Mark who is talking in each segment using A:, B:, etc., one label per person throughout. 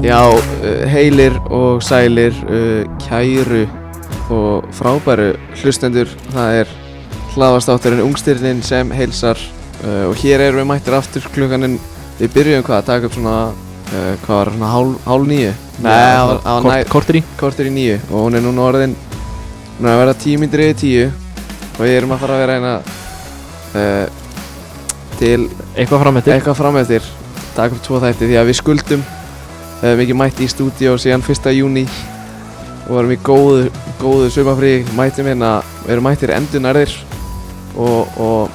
A: Já, eh, heilir og sælir, eh, kæru og frábæru hlustendur. Það er hlaðastátturinn Ungstyrnin sem heilsar eh, og hér erum við mættir aftur klukkaninn. Við byrjuðum hvað að taka upp svona, eh, hvað var það, svona hálf, hálf nýju? Nei, það var- það var nær-
B: korter í
A: kortur í nýju og hún er núna orðin hún er að vera tíu myndir yfir tíu og við erum að fara að vera hérna uh, til
B: Eitthvað fram eftir
A: eitthvað fram eftir dag upp tvo þætti því að við skuldum við hefum ekki mætt í stúdíó síðan 1. júni og varum í góðu, góðu sumafrí mættum hérna, við erum mættir endunarðir og, og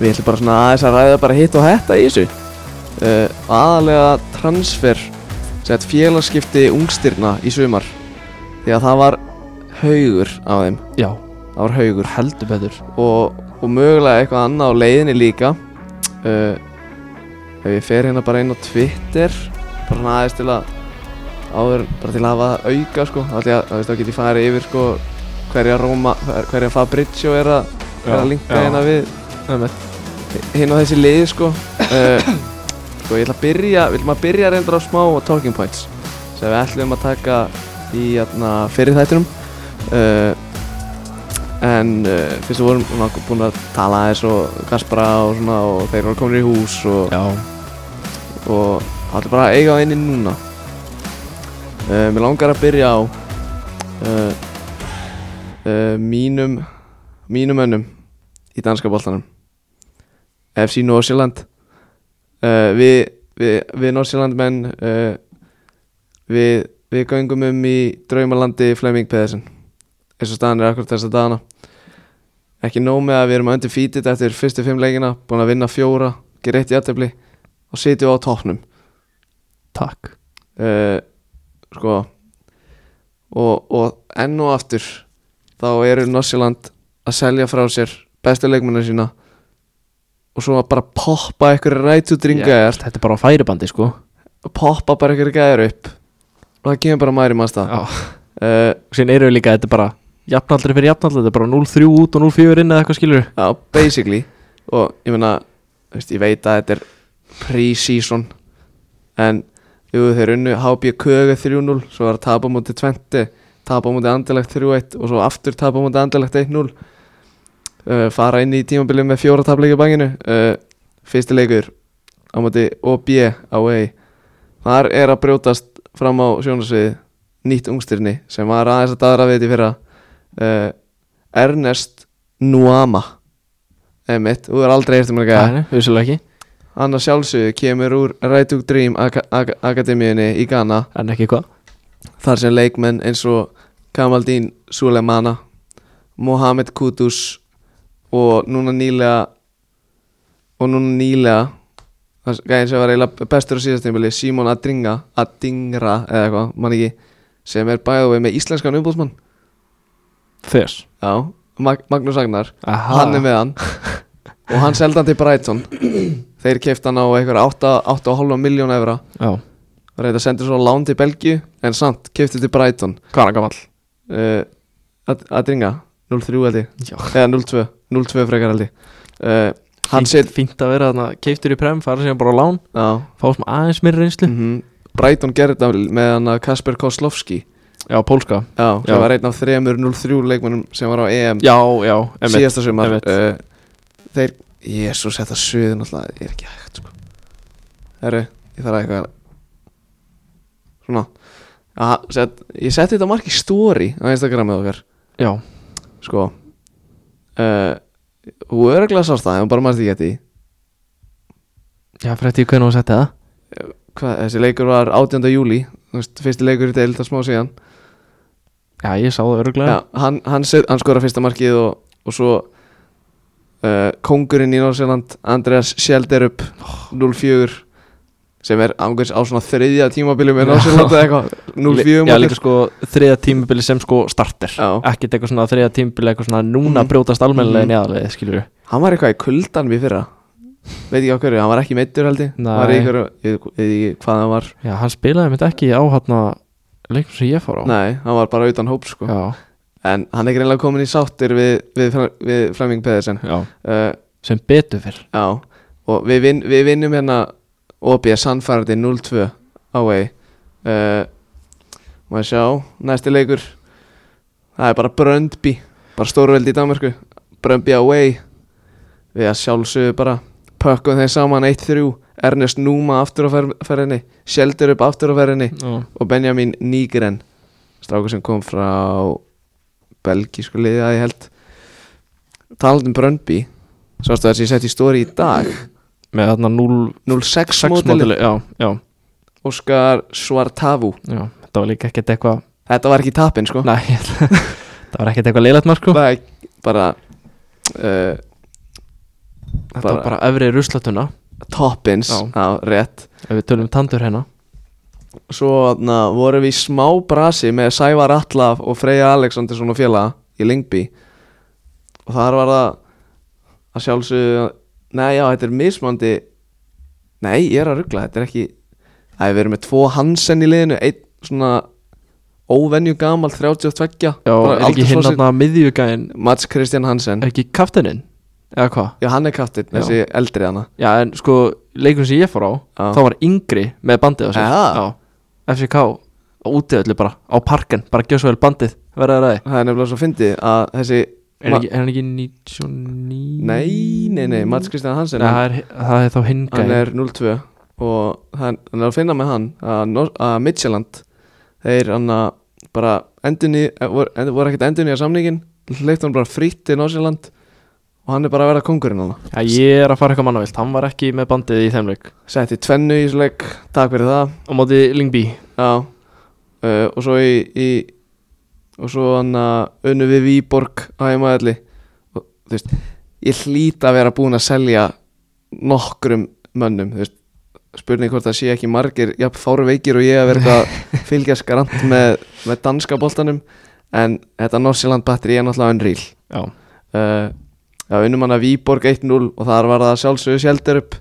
A: við ætlum bara svona aðeins að ræða bara hitt og þetta í þessu uh, aðalega transfer sett félagskipti ungstyrna í sumar því að það var haugur á þeim,
B: Já,
A: það var haugur
B: heldur betur
A: og, og mögulega eitthvað annað á leiðinni líka uh, ef ég fer hérna bara inn á Twitter bara svona aðeins til að áður, bara til að hafa það auka sko, þá ætla ég að, þá veist þá get ég farið yfir sko hverja Róma, hverja Fabrizio er að, er að linka hérna við hinn á þessi liði sko uh, sko ég ætla að byrja, vil maður byrja reyndar á smá talking points sem við ætlum að taka í hérna, fyrir þættinum uh, en uh, fyrst við vorum svona búin að tala aðeins og Kaspara og svona og þeir voru komin í hús og,
B: Já,
A: og það ætlum bara að eiga á einni núna uh, Mér langar að byrja á uh, uh, mínum mínum önnum í danska boltanum FC Norsjöland uh, við, við, við Norsjöland menn uh, við, við göngum um í draumalandi Flemming Pedersen eins og staðan er akkurat þess að dagana ekki nóg með að við erum undefeated eftir fyrstu fimm leikina, búin að vinna fjóra gera eitt í aðtefli og sitjum á toppnum
B: takk
A: uh, sko og, og enn og aftur þá eru Norsjaland að selja frá sér bestu leikmennar sína og svo að bara poppa ykkur rætu
B: Já,
A: dringæjar
B: Þetta er bara á færibandi sko
A: poppa bara ykkur gæjar upp og það kemur bara maður í maður stað
B: Já
A: uh,
B: Síðan eru við líka, þetta er bara Jafnaldri fyrir jafnaldri, þetta er bara 0-3 út og 0-4 inn eða eitthvað skilur
A: Já, basically Og ég meina, þú veist, ég veit að þetta er pre-season En jú, þeir unnu HB Köga 3-0 Svo var að tapa múti 20 Tapa múti andilegt 3-1 Og svo aftur tapa múti andilegt 1-0 uh, Fara inn í tímabilið með fjóra tapleikja banginu uh, Fyrsti leikur Á múti OB á EI Þar er að brjótast fram á sjónarsviði Nýtt ungstyrni Sem var aðeins að daðra við þetta í fyrra uh, Ernest Nuama Emmett, þú er aldrei um eftir mér að gæða
B: Nei, nei, vissulega ekki
A: Hann að sjálfsögðu kemur úr Rætug Dream Ak Ak Akademíunni í Ghana
B: En ekki hvað
A: þar sem leikmenn eins og Kamaldín Suleimana Mohamed Kudus og núna nýlega og núna nýlega það gæðin sem var eiginlega bestur á síðastimili Simon Adringa Adingra eða eitthvað, mann ekki sem er bæðið með íslenskan umbúðsmann
B: Þess
A: Já, Mag Magnús Agnar
B: Aha
A: hann er með hann og hann seldi hann til Brighton þeir kefti hann á einhverja 8 8,5 miljón evra
B: Já
A: og reynda að senda svo lán til Belgíu en samt kefti til Brighton
B: Hvað er hann gamall?
A: uh, að, að ringa 0-3 held ég
B: Já
A: eða 0-2 0-2 frekar held ég uh, hann
B: Fínt,
A: set
B: fínt að vera þarna keiftur í prem, fara síðan bara á lán
A: á,
B: Fá sem aðeins meiri reynslu
A: mhm. Brighton gerði þetta með hann að Kasper Koslovski
B: Já, pólska
A: já,
B: Já.
A: sem var einn af þremur 0-3 leikmennum sem var á EM
B: Já, já, emmitt
A: síðasta sumar
B: einmitt.
A: uh, þeir, jésús, þetta suðin alltaf er ekki hægt sko. herru, ég þarf að eitthvað svona Aha, set, ég setti þetta mark í story á Instagramið okkar
B: Já,
A: sko uh, og örglega sást það, en bara maður þetta ekki eftir því.
B: já, fyrir eftir hvernig hún setti það
A: hvað, þessi leikur var 18. júli þú veist, fyrsti leikur í deild að smá síðan
B: Já, ég sá það öruglega
A: Já, hann, hann, set- hann skora fyrsta markið og, og svo uh, kongurinn í Norsjöland Andreas Sjelderup 0-4 sem er ángurs á svona þriðja tímabili með
B: Já.
A: Norsjöland eða eitthvað 0-4
B: Já,
A: mótur.
B: líka sko þriða tímabili sem sko starter
A: Já.
B: Ekkert eitthvað svona þriða tímabili eitthvað svona núna
A: Mhm.
B: brjótast
A: Mhm.
B: almennilega mm. neðarlega, skilur við
A: hann var eitthvað í kuldan við fyrra veit ekki á hverju, hann var ekki meittur held ég
B: Nei.
A: hann var í einhverju, ég veit ekki hvað hann var
B: Já, hann spilaði mitt ekki á hátna leikum sem ég fór á
A: nei, hann var bara utan hóp sko
B: Já,
A: en hann er greinlega komin í sáttir við, við, við Flemming Pedersen
B: já,
A: uh,
B: sem betur fyrr
A: Já, og við, vin, við vinnum hérna OB sannfærandi 0-2 ávegi uh, maður sjá, næsti leikur það er bara Bröndby bara stórveldi í Danmarku Bröndby away við að sjálfsögðu bara pökkum þeim saman 1-3 Ernest Núma aftur á fer- ferðinni Sjeldur upp aftur á ferðinni
B: Já.
A: og Benjamin Nigren strákur sem kom frá belgísku liði að ég held talandi um Bröndby sástu þess að ég sett í stóri í dag
B: Með þarna 06
A: 06 mótili
B: mótili Já, já,
A: Óskar Svartavu
B: já Þetta var líka ekkert eitthvað
A: þetta var ekki tapin sko
B: Nei, þetta var ekkert eitthvað leilætt mark sko
A: það er bara uh,
B: Þetta var
A: bara-
B: bara öfri ruslatuna
A: toppins
B: Já.
A: á rétt
B: Ef við tölum tandur hérna
A: svo na, vorum við í smá brasi með Sævar Atlaf og Freyja Alexandersson og félaga í Lingby og þar var það að sjálfsögðu nei já þetta er mismandi nei ég er að ruggla þetta er ekki Æ, við erum með tvo Hansen í liðinu einn svona óvenju gamalt 32
B: Já,
A: bara
B: er ekki hinn
A: aldursflossi-
B: þarna miðjugæðin
A: Mats Kristján Hansen
B: Ekki kaftininn? Eða hvað?
A: já hann er kaftin
B: Já.
A: þessi eldri hana
B: Já, en sko, leikurinn sem ég fór á
A: Já.
B: Þá var yngri með bandið á sér
A: Eða?
B: Já FCK á útiðöllu bara Á parken, bara gjöð svo vel bandið Verða það
A: það er nefnilega svo fyndið að þessi
B: Er
A: Ma-
B: hann ekki, er hann ekki 99?
A: Nei, nei, nei, Mats Kristján Hansen
B: Nei, það er, það er þá hinga
A: hann er 0-2 og hann, hann er að finna með hann að, Nor- að Midtjylland þeir hann að bara endunni, voru, endur, eh, voru ekkert endunni á samningin hleypt hann bara frítt til Norsjöland og hann er bara að vera kongurinn hann
B: Já, ég er að fara eitthvað mannavilt Hann var ekki með bandið í þeim leik
A: setti tvennu í sleik, takk fyrir það
B: Á móti Lingby
A: já uh, og svo í, í og svo hann að unnu við Výborg á heimaðalli og þú veist, ég hlýt að vera búin að selja nokkrum mönnum, þú veist spurning hvort það sé ekki margir, já, fáru veikir og ég að vera eitthvað að fylgja skrant með, með danska boltanum en þetta Norsjöland batteri er náttúrulega unreal
B: Já,
A: uh, Já, unnum hann að Víborg 1-0 og þar var það sjálfsögur sjeldir upp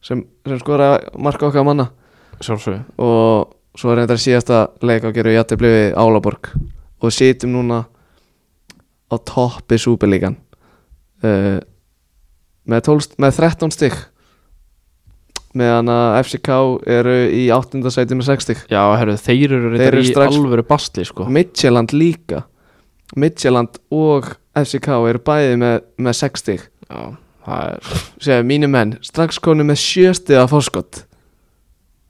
A: sem, sem skora marka okkar manna
B: sjálfsög
A: og svo er þetta síðasta leik að gera jætti við Álaborg og sitjum núna á toppi súpilíkan uh, með, 12, st- með 13 stygg meðan að FCK eru í 8. sæti með 6 stygg
B: Já, herru, þeir
A: Þeir
B: eru reyndar
A: eru
B: í
A: strax-
B: alvöru bastli, sko
A: Midtjylland líka Midtjylland og FCK eru bæði með, með 6 stygg
B: Já, það er
A: segja mínu menn strax konu með 7 stygg að fórskott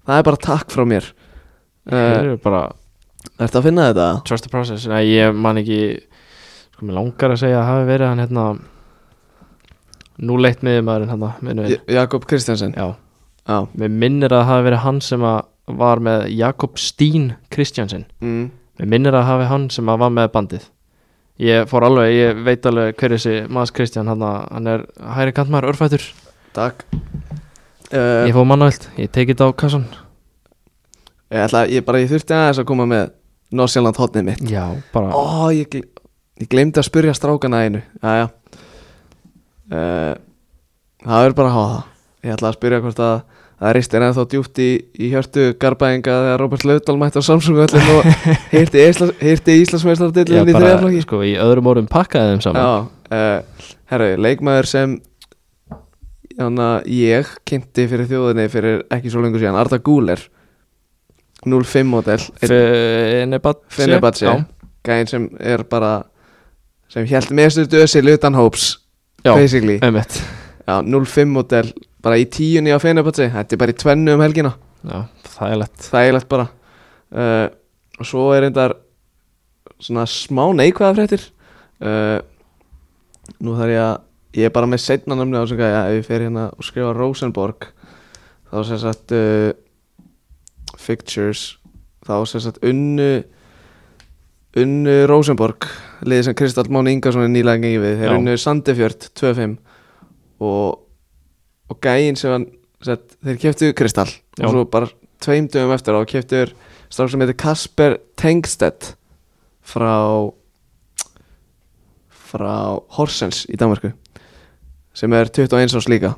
A: það er bara takk frá mér
B: Þeir
A: uh,
B: eru bara
A: Ertu að finna þetta?
B: Trust the process Nei, ég man ekki Sko, mér langar að segja að hafi verið hann hérna Núleitt miður maðurinn hann Minnum við
A: Ja- Jakob Kristjansen
B: Já,
A: Já
B: mér minnir að það hafi verið hann sem að var með Jakob Stín Kristjansen
A: mm.
B: Mér minnir að hafi hann sem að var með bandið Ég fór alveg, ég veit alveg hver þessi maður Kristján hann, hann er hæri kantmaður örfættur
A: Takk uh,
B: Ég
A: ég,
B: fór mannavilt, ég tekið þetta á kassan
A: ætla, ég bara ég þurfti aðeins að koma með Norsjöland hotnið mitt
B: Já, bara
A: Ó, ég, gle- ég glemdi að spyrja strákana einu Jæja uh, Það er bara að hafa það Ég ætla að spyrja hvort að Það ristir ennþá djúpt í, í hjörtu Garbaðinga þegar Robert Laudal mætti á Samsung öllin og heyrti, Ísla, heyrti
B: Já,
A: Íslandsmeistartillin í
B: bara,
A: þriðaflokki
B: sko, í öðrum orðum pakkaði þeim saman
A: Já, uh, herru, leikmaður sem Þannig að ég kynnti fyrir þjóðinni fyrir ekki svo lengur síðan Arda Guler 05 model
B: Fenebatse
A: Fenerbahce
B: Já,
A: Gæinn sem er bara sem hjælt mestu döðsil utan hóps
B: já
A: basically
B: einmitt
A: Já, 05 model bara í tíunni á Fenerbahce Þetta er bara í tvennu um helgina
B: Já, það er lett
A: Þægilegt bara uh, Og svo er reyndar Svona smá neikvæða fréttir uh, Nú þarf ég að Ég er bara með setna nöfni á þessum gæja Ef ég fer hérna og skrifa Rosenborg Þá sem sagt uh, Fictures Þá sem sagt unnu Unnu Rosenborg Liðið sem Kristall Máni Ingarsson er nýlega gengið við Þeir
B: Já.
A: unnu Sandefjörd 2-5 Og Og gæinn sem hann sagt, Þeir keftu Kristall
B: Já.
A: Og svo bara tveim dögum eftir á keftur strák sem heitir Kasper Tengstedt frá frá Horsens í Danmarku sem er 21 árs líka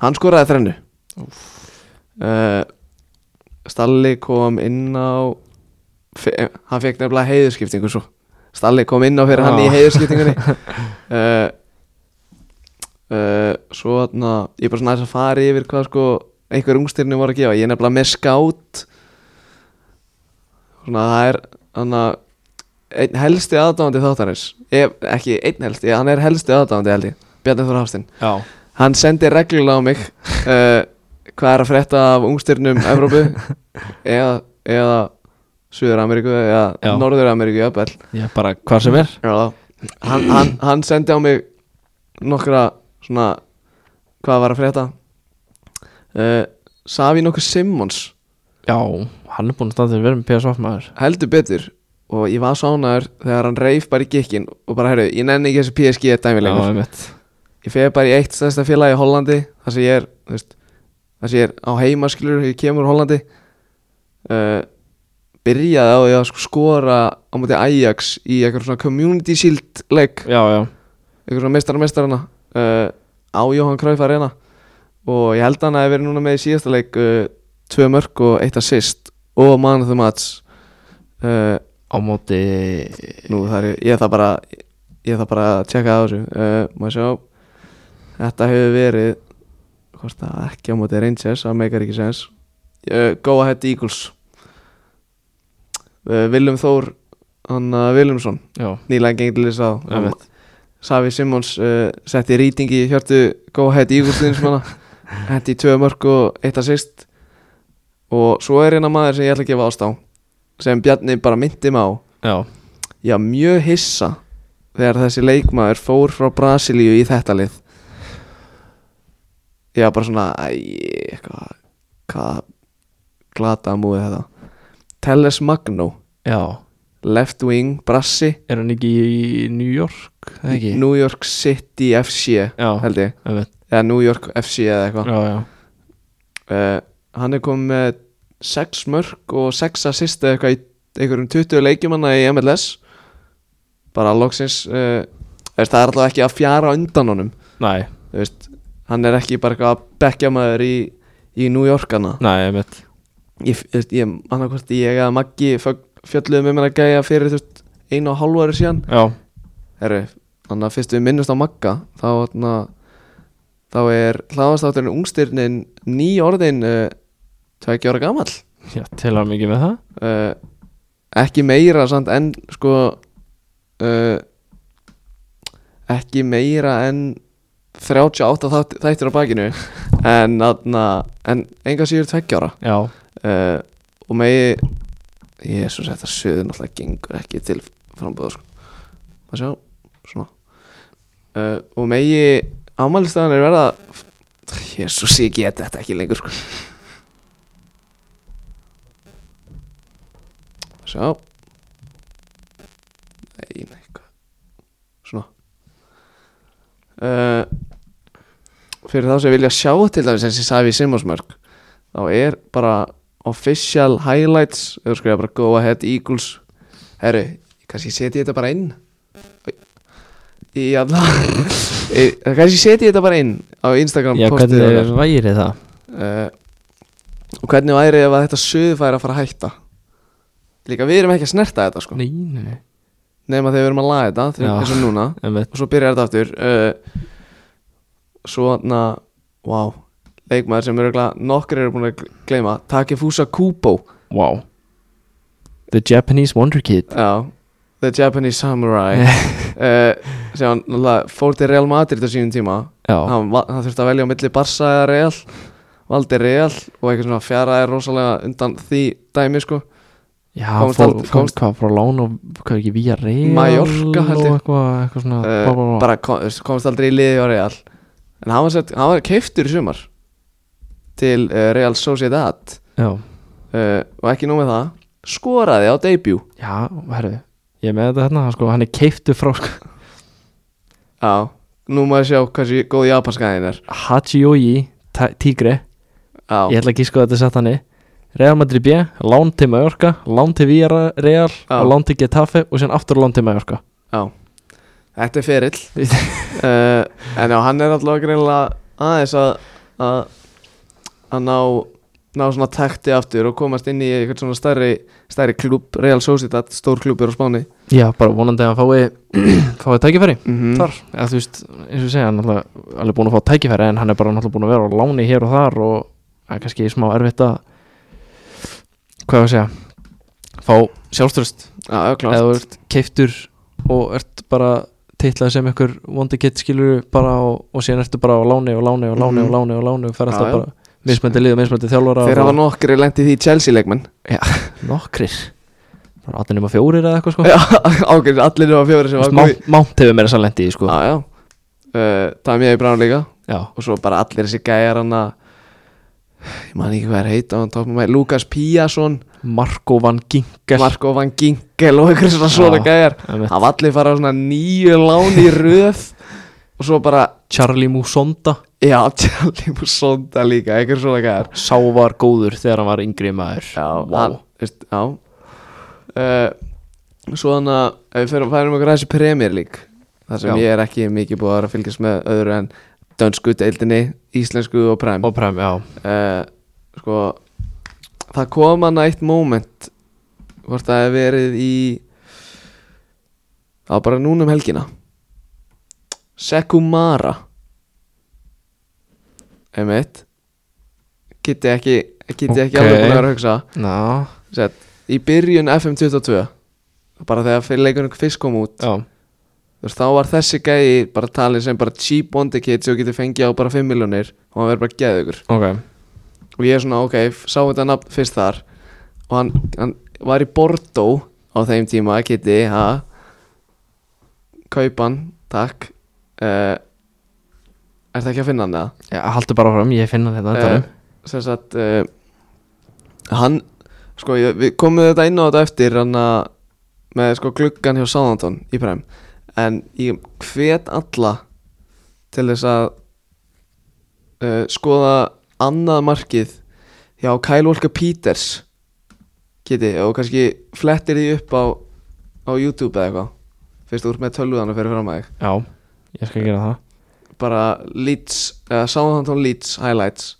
A: hann skoraði þrennu uh, Stalli kom inn á fe- eh, hann fekk nefnilega heiðurskiptingu svo Stalli kom inn á fyrir hann í
B: Já.
A: heiðurskiptingunni uh, uh, svo þarna ég er bara svona aðeins að fara yfir hvað sko einhver ungstyrni voru að gefa ég er nefnilega með skátt svona það er hann að einn helsti aðdáðandi þáttarins ef, ekki einn helsti, hann er helsti aðdáðandi held ég Bjarni Þór Hafstinn
B: Já,
A: hann sendir reglulega á mig uh, hvað er að frétta af ungstyrnum Evrópu eða, eða Suður-Ameríku eða
B: Já.
A: Norður-Ameríku jafnvel.
B: ég bara hvað sem er
A: Já, hann, hann, hann sendi á mig nokkra svona hvað var að frétta uh, Savi nokkuð Simmons
B: Já, hann er búin að standa til að vera með PSV maður
A: heldur betur og ég var sánaður þegar hann reif bara í gikkin og bara heyrðu, ég nenni ekki þessu PSG dæmi
B: Já,
A: lengur
B: einmitt
A: ég fer bara í eitt stærsta félag í Hollandi þar sem ég er þú veist, þar sem ég er á heimaskilur þegar ég kemur úr Hollandi uh, byrjaði á því að sko skora á móti Ajax í eitthvað svona community shield leik
B: Já, já,
A: eitthvað svona meistara meistarana uh, á Jóhann Kræf Arena og ég held að hann að verið núna með í síðasta leik uh, tvö mörg og eitt assist og man of the match uh,
B: á móti
A: nú það er ég það bara ég það bara að tjekka á þessu uh, maður sjá þetta hefur verið hvort það er ekki á móti Rangers það meikar ekki sens uh, go ahead Eagles uh, Willum Þór hann uh, Willumson
B: Já,
A: nýlega gengið til þess að
B: einmitt
A: Savi Simons uh, setti rýtingi í hjörtu go ahead Eagles-liðin sem hana hendi í tvö mörg og eitt assist og svo er hérna maður sem ég ætla að gefa ást á sem Bjarni bara myndi mig á
B: Já,
A: ég var mjög hissa þegar þessi leikmaður fór frá Brasilíu í þetta lið ég var bara svona æ, hvað hvað glata múið þetta Telles Magno,
B: já
A: left wing Brassi,
B: Er hann ekki í New York? eða Ekki?
A: New York City FC
B: já,
A: held ég
B: einmitt
A: eða New York FC eða eitthvað
B: Já, já
A: uh, hann er komið með 6 mörg og 6 assist eða eitthvað í einhverjum 20 leikjumanna í MLS bara loksins uh, veist, það er alltaf ekki að fjara undan honum
B: Nei,
A: þú veist, hann er ekki bara eitthvað að bekja maður í, í New Yorkana
B: nei, einmitt
A: ég, þú veist, ég, annarkvort ég eða Maggi fögg- fjölluðum um hennar gæja fyrir þú veist, einu og hálfu ári síðan
B: Já,
A: Herru, þannig að fyrst við minnumst á Magga þá, na, þá er hlaðastátturinn ungstyrnin ný orðin uh, tveggja ára gamall
B: já, til hann mikið með það
A: uh, ekki meira samt en sko uh, ekki meira en 38 þátt, þættir á bakinu en, na, en enga síður tveggja ára
B: Já,
A: uh, og megi Jésús, þetta söðu náttúrulega gengur ekki til frambúða sko. maður sjá, svona uh, og megi afmælistæðan er verða Jésús, ég get þetta ekki lengur sko. Maður sjá nei, nei, hvað svona uh, fyrir þá sem vilja sjá til dæmis eins og Savi Simonsmörk þá er bara official highlights eða skrifa bara go ahead Eagles herru, kannski setji ég þetta bara inn í alla Eh, kannski setji ég þetta bara inn á hérna. Instagram
B: já
A: postið
B: hvernig
A: okkar.
B: er væri það?
A: Eh, og hvernig væri ef að þetta suðu færi að fara að hætta líka við erum ekki að snerta þetta sko
B: Nei, nei, nei,
A: nema þegar við erum að laga þetta þegar
B: Já.
A: eins og núna
B: einmitt
A: og svo byrjar þetta aftur uh, svo hann að wow, leikmaður sem eru nokkur eru búin að gl- gleyma Takefusa Kubo
B: Wow The Japanese Wonder Kid
A: já, The Japanese Samurai uh, sem hann náttúrulega fór til Real Madrid á sínum tíma
B: Já,
A: hann, va- hann þurfti að velja á milli Barca eða Real valdi Real og eitthvað svona fjaraði rosalega undan því dæmi sko
B: já
A: komst
B: fór,
A: aldrei-
B: fór,
A: komst-
B: hvað, frá Lán og hvað er ekki, Vía Real
A: Mallorca, held ég.
B: Og eitthvað, eitthvað svona
A: Eh,
B: bá, bá, bá.
A: bara kom, veist, komst aldrei í liði á Real en hann var, sett, hann var keiftur í sumar til uh, Real Sociedad
B: Já,
A: uh, og ekki nóg með það skoraði á debut
B: já, herri Ég er með þetta hérna, sko, hann er keiftu frá sko,
A: já, nú maður sjá hversu góð japanskaðin er
B: Hachiyoyi Ta- Tigre
A: já,
B: Ég ætla ekki sko að þetta sett hann í Real Madrid B, lán til Mallorca Lán til Vía Real
A: Já.
B: og lán til Getafe og síðan aftur lán til Mallorca
A: já þetta er ferill uh, en já, hann er alltaf greinlega aðeins að að að ná ná svona takti aftur og komast inn í eitthvað svona stærri, stærri klub Real Sociedad, stór klubur á Spáni
B: Já, bara vonandi að hann fái fái tækifæri
A: mm
B: þar eða þú veist, eins og ég segja, hann er náttúrulega alveg búin að fá tækifæri en hann er bara náttúrulega búin að vera á láni hér og þar og það er kannski smá erfitt að hvað ég að segja fá sjálfströst
A: Já, já, klart
B: eða þú ert keiftur og ert bara titlað sem ykkur vondi kitt skilur bara og, og síðan ertu bara á láni og láni og láni
A: Mhm.
B: og láni og láni og fer alltaf
A: Já, já.
B: bara mismöndi lið og mismöndi þjálfara
A: Þeir
B: og
A: hafa nokkri lent í því Chelsea-leikmenn
B: nokkrir bara 18 nema fjórir eða eitthvað sko
A: Já, ákveðin, allir eru að fjóri sem
B: Þú veist,
A: var
B: Mount- Mount hefur meira þess að lendi í sko
A: Já, já uh, Tami Eði Brown líka
B: já,
A: Og svo bara allir þessi gæjar hann að Ég man ekki hvað er heita hann tók með Lukas Píasson
B: Marko van Ginkel
A: Marko Van Ginkel og ykkur svona svona
B: Já.
A: gæjar
B: einmitt.
A: Það var allir fara á svona nýju lán í röð Og svo bara
B: Charlie Musonda
A: Já, Charlie Musonda líka Ykkur svona gæjar
B: sá var góður þegar hann var yngri maður
A: Já,
B: Vá.
A: hann, veist, já uh, Svo þannig að ef við fyrir, færum okkur að þessi Premier League þar sem
B: Já.
A: ég er ekki mikið búið að vera að fylgjast með öðru en dönsku deildinni, íslensku og præm
B: og præm, já
A: uh, Sko, það kom hann eitt moment hvort það hef verið í á bara núna um helgina Sekumara Einmitt Gitti ekki, gitti ekki
B: Ok.
A: alveg búin að vera að hugsa
B: Ná,
A: Sett, í byrjun FM22 bara þegar fyrir leikunum fyrst kom út
B: já,
A: þú veist, þá var þessi gæi bara talið sem bara cheap bondi kid sem þú getur fengið á bara 5 miljonir og hann verður bara geðugur
B: ok
A: og ég er svona ok, f- sá þetta nafn fyrst þar og hann, hann var í Bordeaux á þeim tíma, Kitty ha kaupan, takk uh, er það ekki að finna hann það?
B: já, haldur bara fram, ég finna þetta
A: Eh,
B: endanum.
A: sem sagt uh, hann sko ég, við komum þetta inn á þetta eftir hann að með sko gluggan hjá Sáðantón í præm en ég hvet alla til þess að uh, skoða annað markið hjá Kyle Walker Peters geti og kannski flettir því upp á, á YouTube eða eitthvað fyrst úr með tölvuðan að fyrir fram að þig
B: já, ég skal gera það
A: bara Leeds uh, Southampton Leeds highlights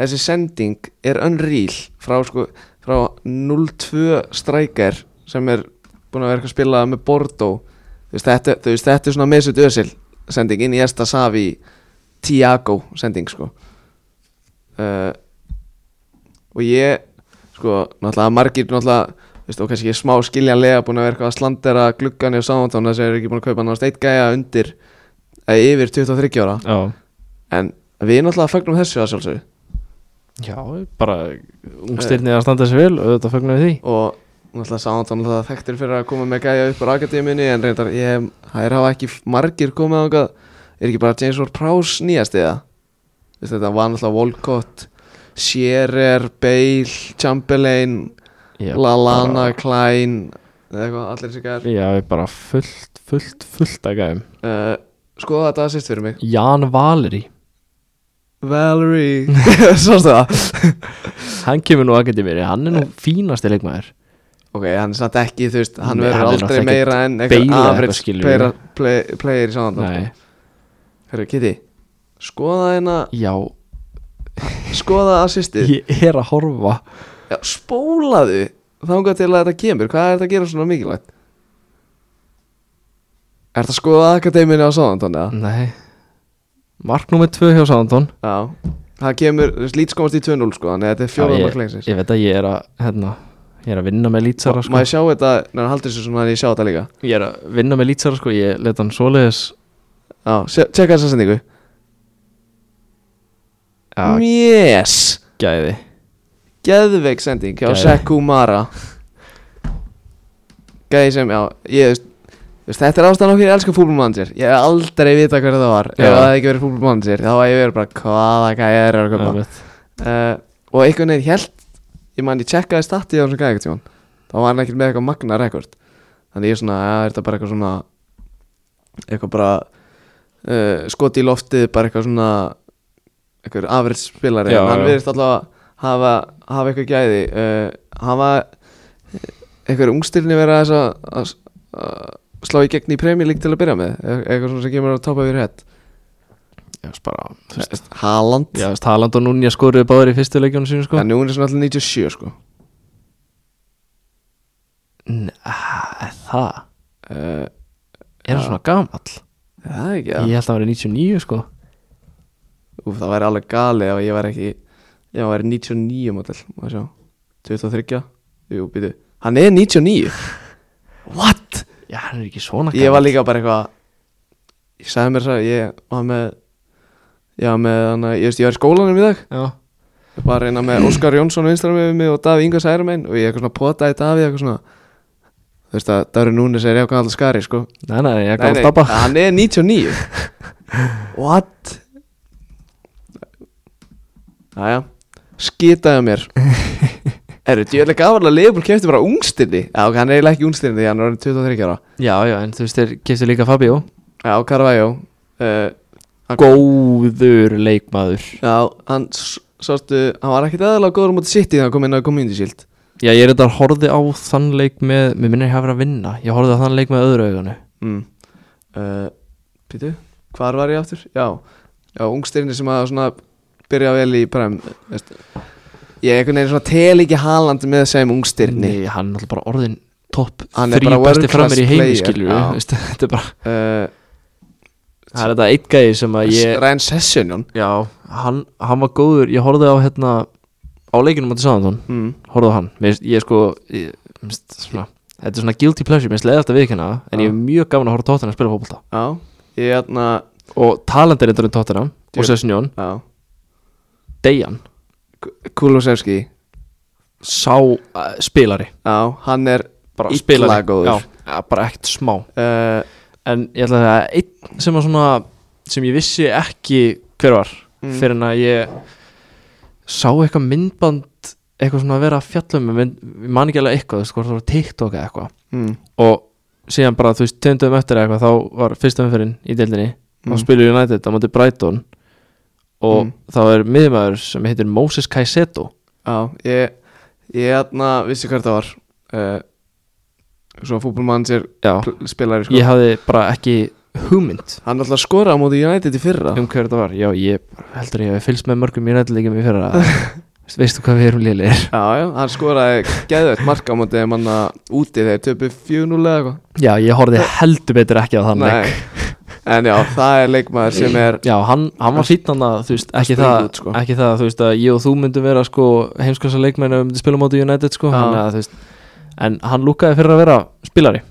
A: þessi sending er unreal frá, sko, frá 0-2 striker sem er búin að vera eitthvað að spila með Bordeaux þú veist þetta, þú veist, þetta er svona Mesut Özil sending inn í Esta Savi Tiago sending sko uh, og ég sko náttúrulega margir náttúrulega þú veist, og kannski smá skiljanlega búin að vera eitthvað að slandera gluggan í Southampton þess að er ekki búin að kaupa náttúrulega eitt gæja undir eða yfir 23 ára
B: já,
A: en við náttúrulega fagnum þessu að sjálfsögðu
B: já, bara ungstyrnið að standa sér vel og þetta fögnum við því
A: og náttúrulega Southampton náttúrulega þekktir fyrir að koma með gæja upp á akademiunni en reyndar ég hef, þær hafa ekki margir komið á er ekki bara James Ward Prowse nýjast eða Vist, þetta var náttúrulega Walcott Scherer, Bale, Chamberlain
B: já,
A: Lallana, Klein eða eitthvað, allir þessi
B: bara,
A: gæjar
B: já, ég bara fullt, fullt, fullt að gæðum
A: uh, skoða þetta sýst fyrir mig
B: Jan Valeri,
A: Valerie, sástu það
B: hann kemur nú ekkert í mér hann er nú fínasti leikmaður
A: Ok, hann er samt ekki, þú veist, hann
B: Nei,
A: verður
B: hann er
A: aldrei
B: náttúrulega
A: meira en
B: beila
A: einhver
B: eitthvað,
A: average
B: skilur við.
A: player, play, player í samanlóð
B: nei,
A: Hörru, Kitty, skoða hérna,
B: já,
A: skoða assistið
B: ég er að horfa
A: Já, Spólaðu þangað til að þetta kemur, hvað er þetta að gera svona mikilvægt? Er þetta að skoða akademinu á samanlóð, eða?
B: nei Mark nummer 2 hjá Sándón
A: Já, það kemur, þú veist, lít komast í 2-0 sko, þannig að þetta er
B: Já,
A: fjóðan
B: ég-
A: mark leiksins
B: Ég veit að ég er að, hérna, ég er að vinna með lýtsara sko.
A: Má ég sjá þetta, en hann haldur þessu svona þannig að ég sjá þetta líka
B: Ég er að vinna með lýtsara sko, ég let hann svoleiðis
A: Já, sé- tjekka þessa sendingu
B: Já,
A: Yes!
B: gæði
A: geðveik sending hjá
B: Geðveik.
A: Sekou Mara Gæði sem, já, ég veist veist, Þetta er ástæðan okkur ég elska fútbolmanager Ég hef aldrei vita hver það var Ef
B: Já.
A: það hefði ekki verið fútbolmanager Þá var ég verið bara hvaða gæði er að köpa
B: einmitt.
A: uh, Og einhvern veginn held Ég man, ég checkaði statið á þessum gæði tíma Þá var hann ekkert með eitthvað magna rekord Þannig ég er svona, ja, er þetta bara eitthvað svona Eitthvað bara uh, Skoti í loftið, bara eitthvað svona Eitthvað afrið spilari
B: Já,
A: En Hann
B: já.
A: virðist alltaf að hafa Hafa eitthvað gæði uh, Hafa Eitthvað ungstilni vera þess að- að að Slá í gegn í premjölík til að byrja með e- Eitthvað svona sem kemur að topa fyrir hett
B: Ég veist bara, þú veist
A: Haaland
B: Já, þú veist, Haaland og Núnja skoruðu báður í fyrstu leikjónu sínu sko
A: En nú er svona alltaf 97 sko
B: N- ah, er Það,
A: uh,
B: er hann svona gamall
A: Það er ekki það
B: Ég held að hann verið 99 sko
A: Úf, það væri alveg gali ef ég væri ekki Ef það væri 99 model Má sjá 23 Jú, býtu Hann er 99 What?
B: Já, hann er ekki svona
A: Ég var líka bara eitthvað Ég sagði mér það, ég var með Ég var með, hann, ég veist, ég var í skólanum í dag
B: Já,
A: Ég var reyna með Óskar Jónsson vinstra með mig og Daví Inga Særumein og ég eitthvað svona potaði Daví eitthvað svona Þú veist að Darí Núnes er jákvæm alltaf skari sko
B: nei, nei, ég
A: Nei,
B: gaf
A: nei,
B: stoppa
A: Hann er 99 What? Æja Skitaði á mér Erðu, djöðlega gafal að Leopold kefti bara ungstinni Já, ok, hann er eiginlega ekki ungstinni því hann er orðinn 23 ára
B: Já, já, en þú veist, þeir kiftu líka Fabio
A: Já, Carvajó uh,
B: Góður leikmaður
A: Já, hann s- sástu Hann var ekkit eðalega góður á móti sitt í það að kom inn á Community Shield
B: Já, ég er þetta horfði á þann leik með Mér minnir ég hafa verið að vinna Ég horfði á þann leik með öðru augunu
A: mm. uh, Pítu, hvar var ég aftur? Já, já ungstirni sem að svona byrja vel í prem veist. Ég einhvern veginn svona tel ekki Haaland með sem ungstirni
B: Nei, hann er náttúrulega bara orðin topp
A: Hann er
B: Þrý
A: bara
B: besti
A: world class
B: framir í heimi
A: player,
B: skilur
A: já.
B: við Þetta er bara
A: uh,
B: Það er þetta eitt gæði sem að ég
A: Ryan Sessionjón
B: Já, hann, hann var góður Ég horfði á hérna Á leikinum á til Sáðantón
A: mm.
B: Horfði á hann Mér, finnst- Ég sko ég, minnst, svona, Þetta er svona guilty pleasure Mér finnst leðast að viðkynna það En
A: Já.
B: ég er mjög gaman að horfa á Tottenham að spila fótbolta
A: Já, ég hérna
B: Og talandir eitthvað um Tottenham
A: Djöfull.
B: Og Sessunjón
A: Já,
B: Dejan
A: Kulosevski
B: Sá uh, spilari
A: Já, hann er
B: bara
A: Illa
B: spilari
A: góður.
B: já, ja, bara ekkert smá
A: uh,
B: en ég ætla að það er einn sem að svona sem ég vissi ekki hver var
A: Mm.
B: fyrir en að ég sá eitthvað myndband eitthvað svona að vera að fjalla um ég mynd- ég man ekki alveg eitthvað, þú veist, hvort það var TikTok eða eitthvað
A: mm.
B: og síðan bara, þú veist, tegndum eftir eða eitthvað þá var fyrsta umferðin í deildinni mm.
A: Mm.
B: og spilur United á móti Brighton og
A: Mm.
B: þá er miðmaður sem heitir Moses Caicedo
A: Já, ég Ég hérna vissi hvert það var uh, Svo fútbolmann sér
B: já,
A: spilari sko
B: ég hafði bara ekki hugmynd
A: Hann alltaf skoraði á móti United í fyrra
B: um hverju þetta var já, ég heldur ég hef fylgst með mörgum United-leikum í fyrra Veist- veistu hvað við erum lélir
A: Já, já, hann skoraði geðveitt marka á móti þeim manna úti þegar töpu 4-0 eða eitthvað
B: já, ég horfði heldur betur ekki á þann leik
A: Nei. En já, það er leikmaður sem er
B: já, hann, hann var fítan að þú veist, ekki
A: springur
B: það,
A: út, sko.
B: ekki það þú veist, að ég og þú myndum vera sko, heimskvæmsa leikmenn ef við myndum spila á móti United sko,
A: Já.
B: hann, að, þú veist, en hann lúkaði fyrir að vera spilari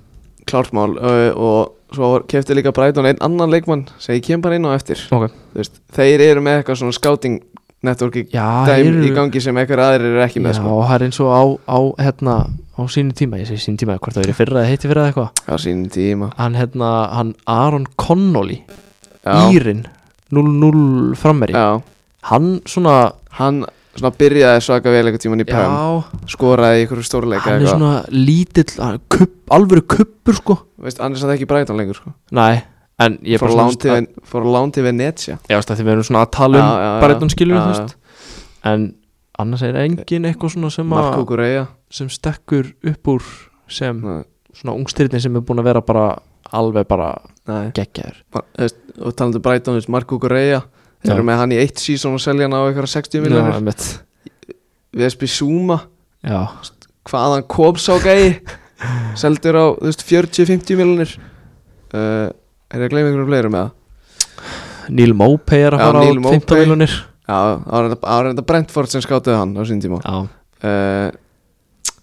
A: klártmál uh, og svo kefti líka Brighton einn annan leikmann sem ég kem bara inn á eftir
B: okay.
A: Þú veist, Þeir eru með eitthvað svona scouting networki
B: já,
A: dæm
B: heyrðu-
A: í gangi sem eitthvað aðrir eru ekki
B: já,
A: með sko.
B: það er eins og á, á hérna, á sínu tíma, ég segi sínu tíma hvort það verið fyrra eða heiti fyrra eða eitthvað
A: á sínum tíma
B: hann, hérna, hann Aaron Connolly,
A: já,
B: Írin 0-0 frammeri
A: já,
B: hann svona
A: Hann svona byrjaði svaka vel eitthvað tíman í pæm
B: já,
A: skoraði í einhverju stórleika
B: hann er
A: eitthvað.
B: svona lítill hann, kupp, alvöru kuppur sko
A: Veist, Hann er svona ekki í Brighton lengur sko.
B: nei, en ég er
A: Fór
B: bara
A: lán til
B: að,
A: Ven- fór á lán til Venetia
B: já, veist, að því við erum svona að tala um
A: Já, já, já.
B: Brighton skilur
A: Já,
B: þú veist en annars er engin eitthvað svona sem, a,
A: Marko Gureya
B: sem stekkur upp úr sem svona ungstyrni sem er búin að vera bara alveg bara
A: Nei,
B: geggjaður
A: Mar- þú veist, og talandu Brighton, þú veist, Marko Gureya Þeir
B: Já.
A: eru með hann í eitt sísón og selja hann á eitthvað 60
B: já,
A: miljonir
B: einmitt.
A: Vespi Suma,
B: já,
A: hvaðan kom sá gæi Seldur á, þú veist, 40-50 miljonir uh, Er ég að gleyma einhverjum fleirum með það?
B: Neil Mopey er að
A: Já,
B: fara á
A: Neil
B: 15
A: Maupay.
B: miljonir
A: Já, það var reynda- það var reynda Brentford sem skátuði hann á sín tíma
B: já,
A: uh,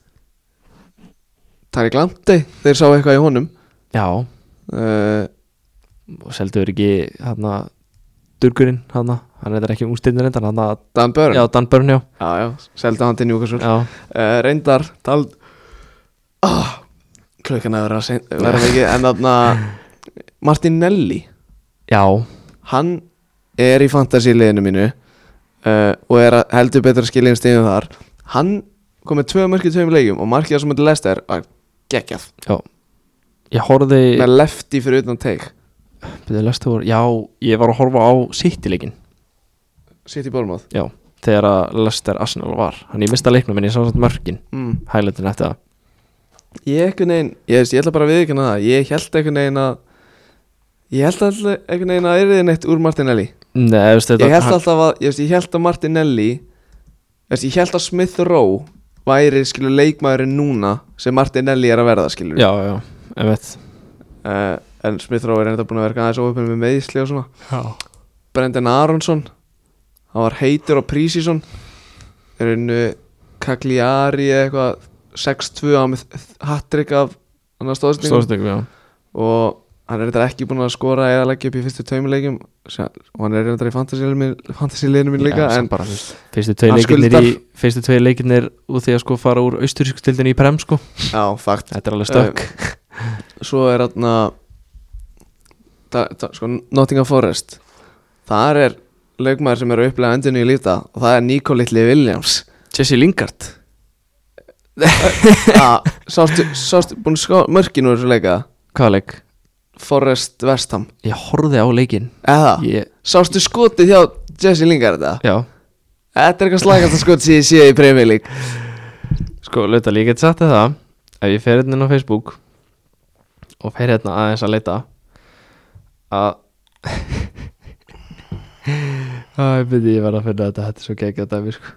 A: Tarik Landi, þeir sá eitthvað í honum
B: já,
A: uh,
B: og selduður ekki hann að durkurinn hann hann er ekki ungstyrni reyndan hann að
A: Dan Börn, já,
B: Já, Dan Burn, já,
A: já, seldu hann til Newcastle
B: já.
A: uh, reyndar tald oh, klukkan að vera seint- vera mikið en þarna Martinelli
B: Já,
A: hann er í fantasy liðinu mínu uh, og er að heldur betur að skilja um stíðum þar hann kom með tvö mörki tveim leikjum og markið það sem þetta lest er að geggjað
B: já Ég horfði
A: með lefti fyrir utan teik
B: byrju, lestu voru, Já, ég var að horfa á City-leikin
A: sitt í bólmáð
B: Já, þegar að Lester Arsenal var Hann ég mista leiknum en ég sá samt mörkin
A: mm.
B: Hælætin eftir það
A: ég ekkert negin ég, veist, ég ætla bara að viðkynna það ég held ekkert negin að ég held alltaf ekkert negin að yrði neitt úr Martinelli
B: Nei, Mm, þú veist þetta
A: ég held
B: hann-
A: alltaf að ég, veist, ég held að Martinelli ég veist, ég held að Smith Rowe væri skilur leikmaðurinn núna sem Martinelli er að verða skilur Eh,
B: Já, já, ég veit
A: en Smith Rowe er enda búin að verka aðeins óöfnum með meðisli og svona
B: Já,
A: Brendan Aronsson hann var heitur á prísíson er einu Cagliari eða eitthvað 6-2 á með hattrick af annar stóðsendingum
B: Stóðstökum, já
A: og hann er reyndar ekki búinn að skora eða leggja upp í fyrstu tveimilegjum og hann er reyndar í fantasy-liðinu fantasy mín líka
B: Já,
A: en
B: bara, þú veist, Fyrstu tvei
A: Hann
B: leikirnir í
A: skuldar-
B: Fyrstu tvei leikirnir út því að sko fara úr austuríkstildin í prem sko
A: já, fakt
B: Þetta er alveg stökk
A: svo er hann að sko, Nottingham Forest þar er leikmaður sem er að upplega endinu í líta og það er Nico Little Williams
B: Jesse Lingard
A: Ah, sástu, sástu búin sko mörkin úr þessu leika
B: Hvaða leik?
A: Forest Vestham
B: Ég horfði á leikin
A: eða,
B: Ég,
A: sástu skotið hjá Jesse Lingard þetta
B: já
A: þetta er eitthvað slagast að skotið sem ég sé í Premier League
B: Sko, lauta líka gett sagt þér það Ef ég fer hérna inn á Facebook Og fer hérna aðeins að leita Að Æ, byrði ég verða að finna þetta Þetta er svo geggjað dæmi, sko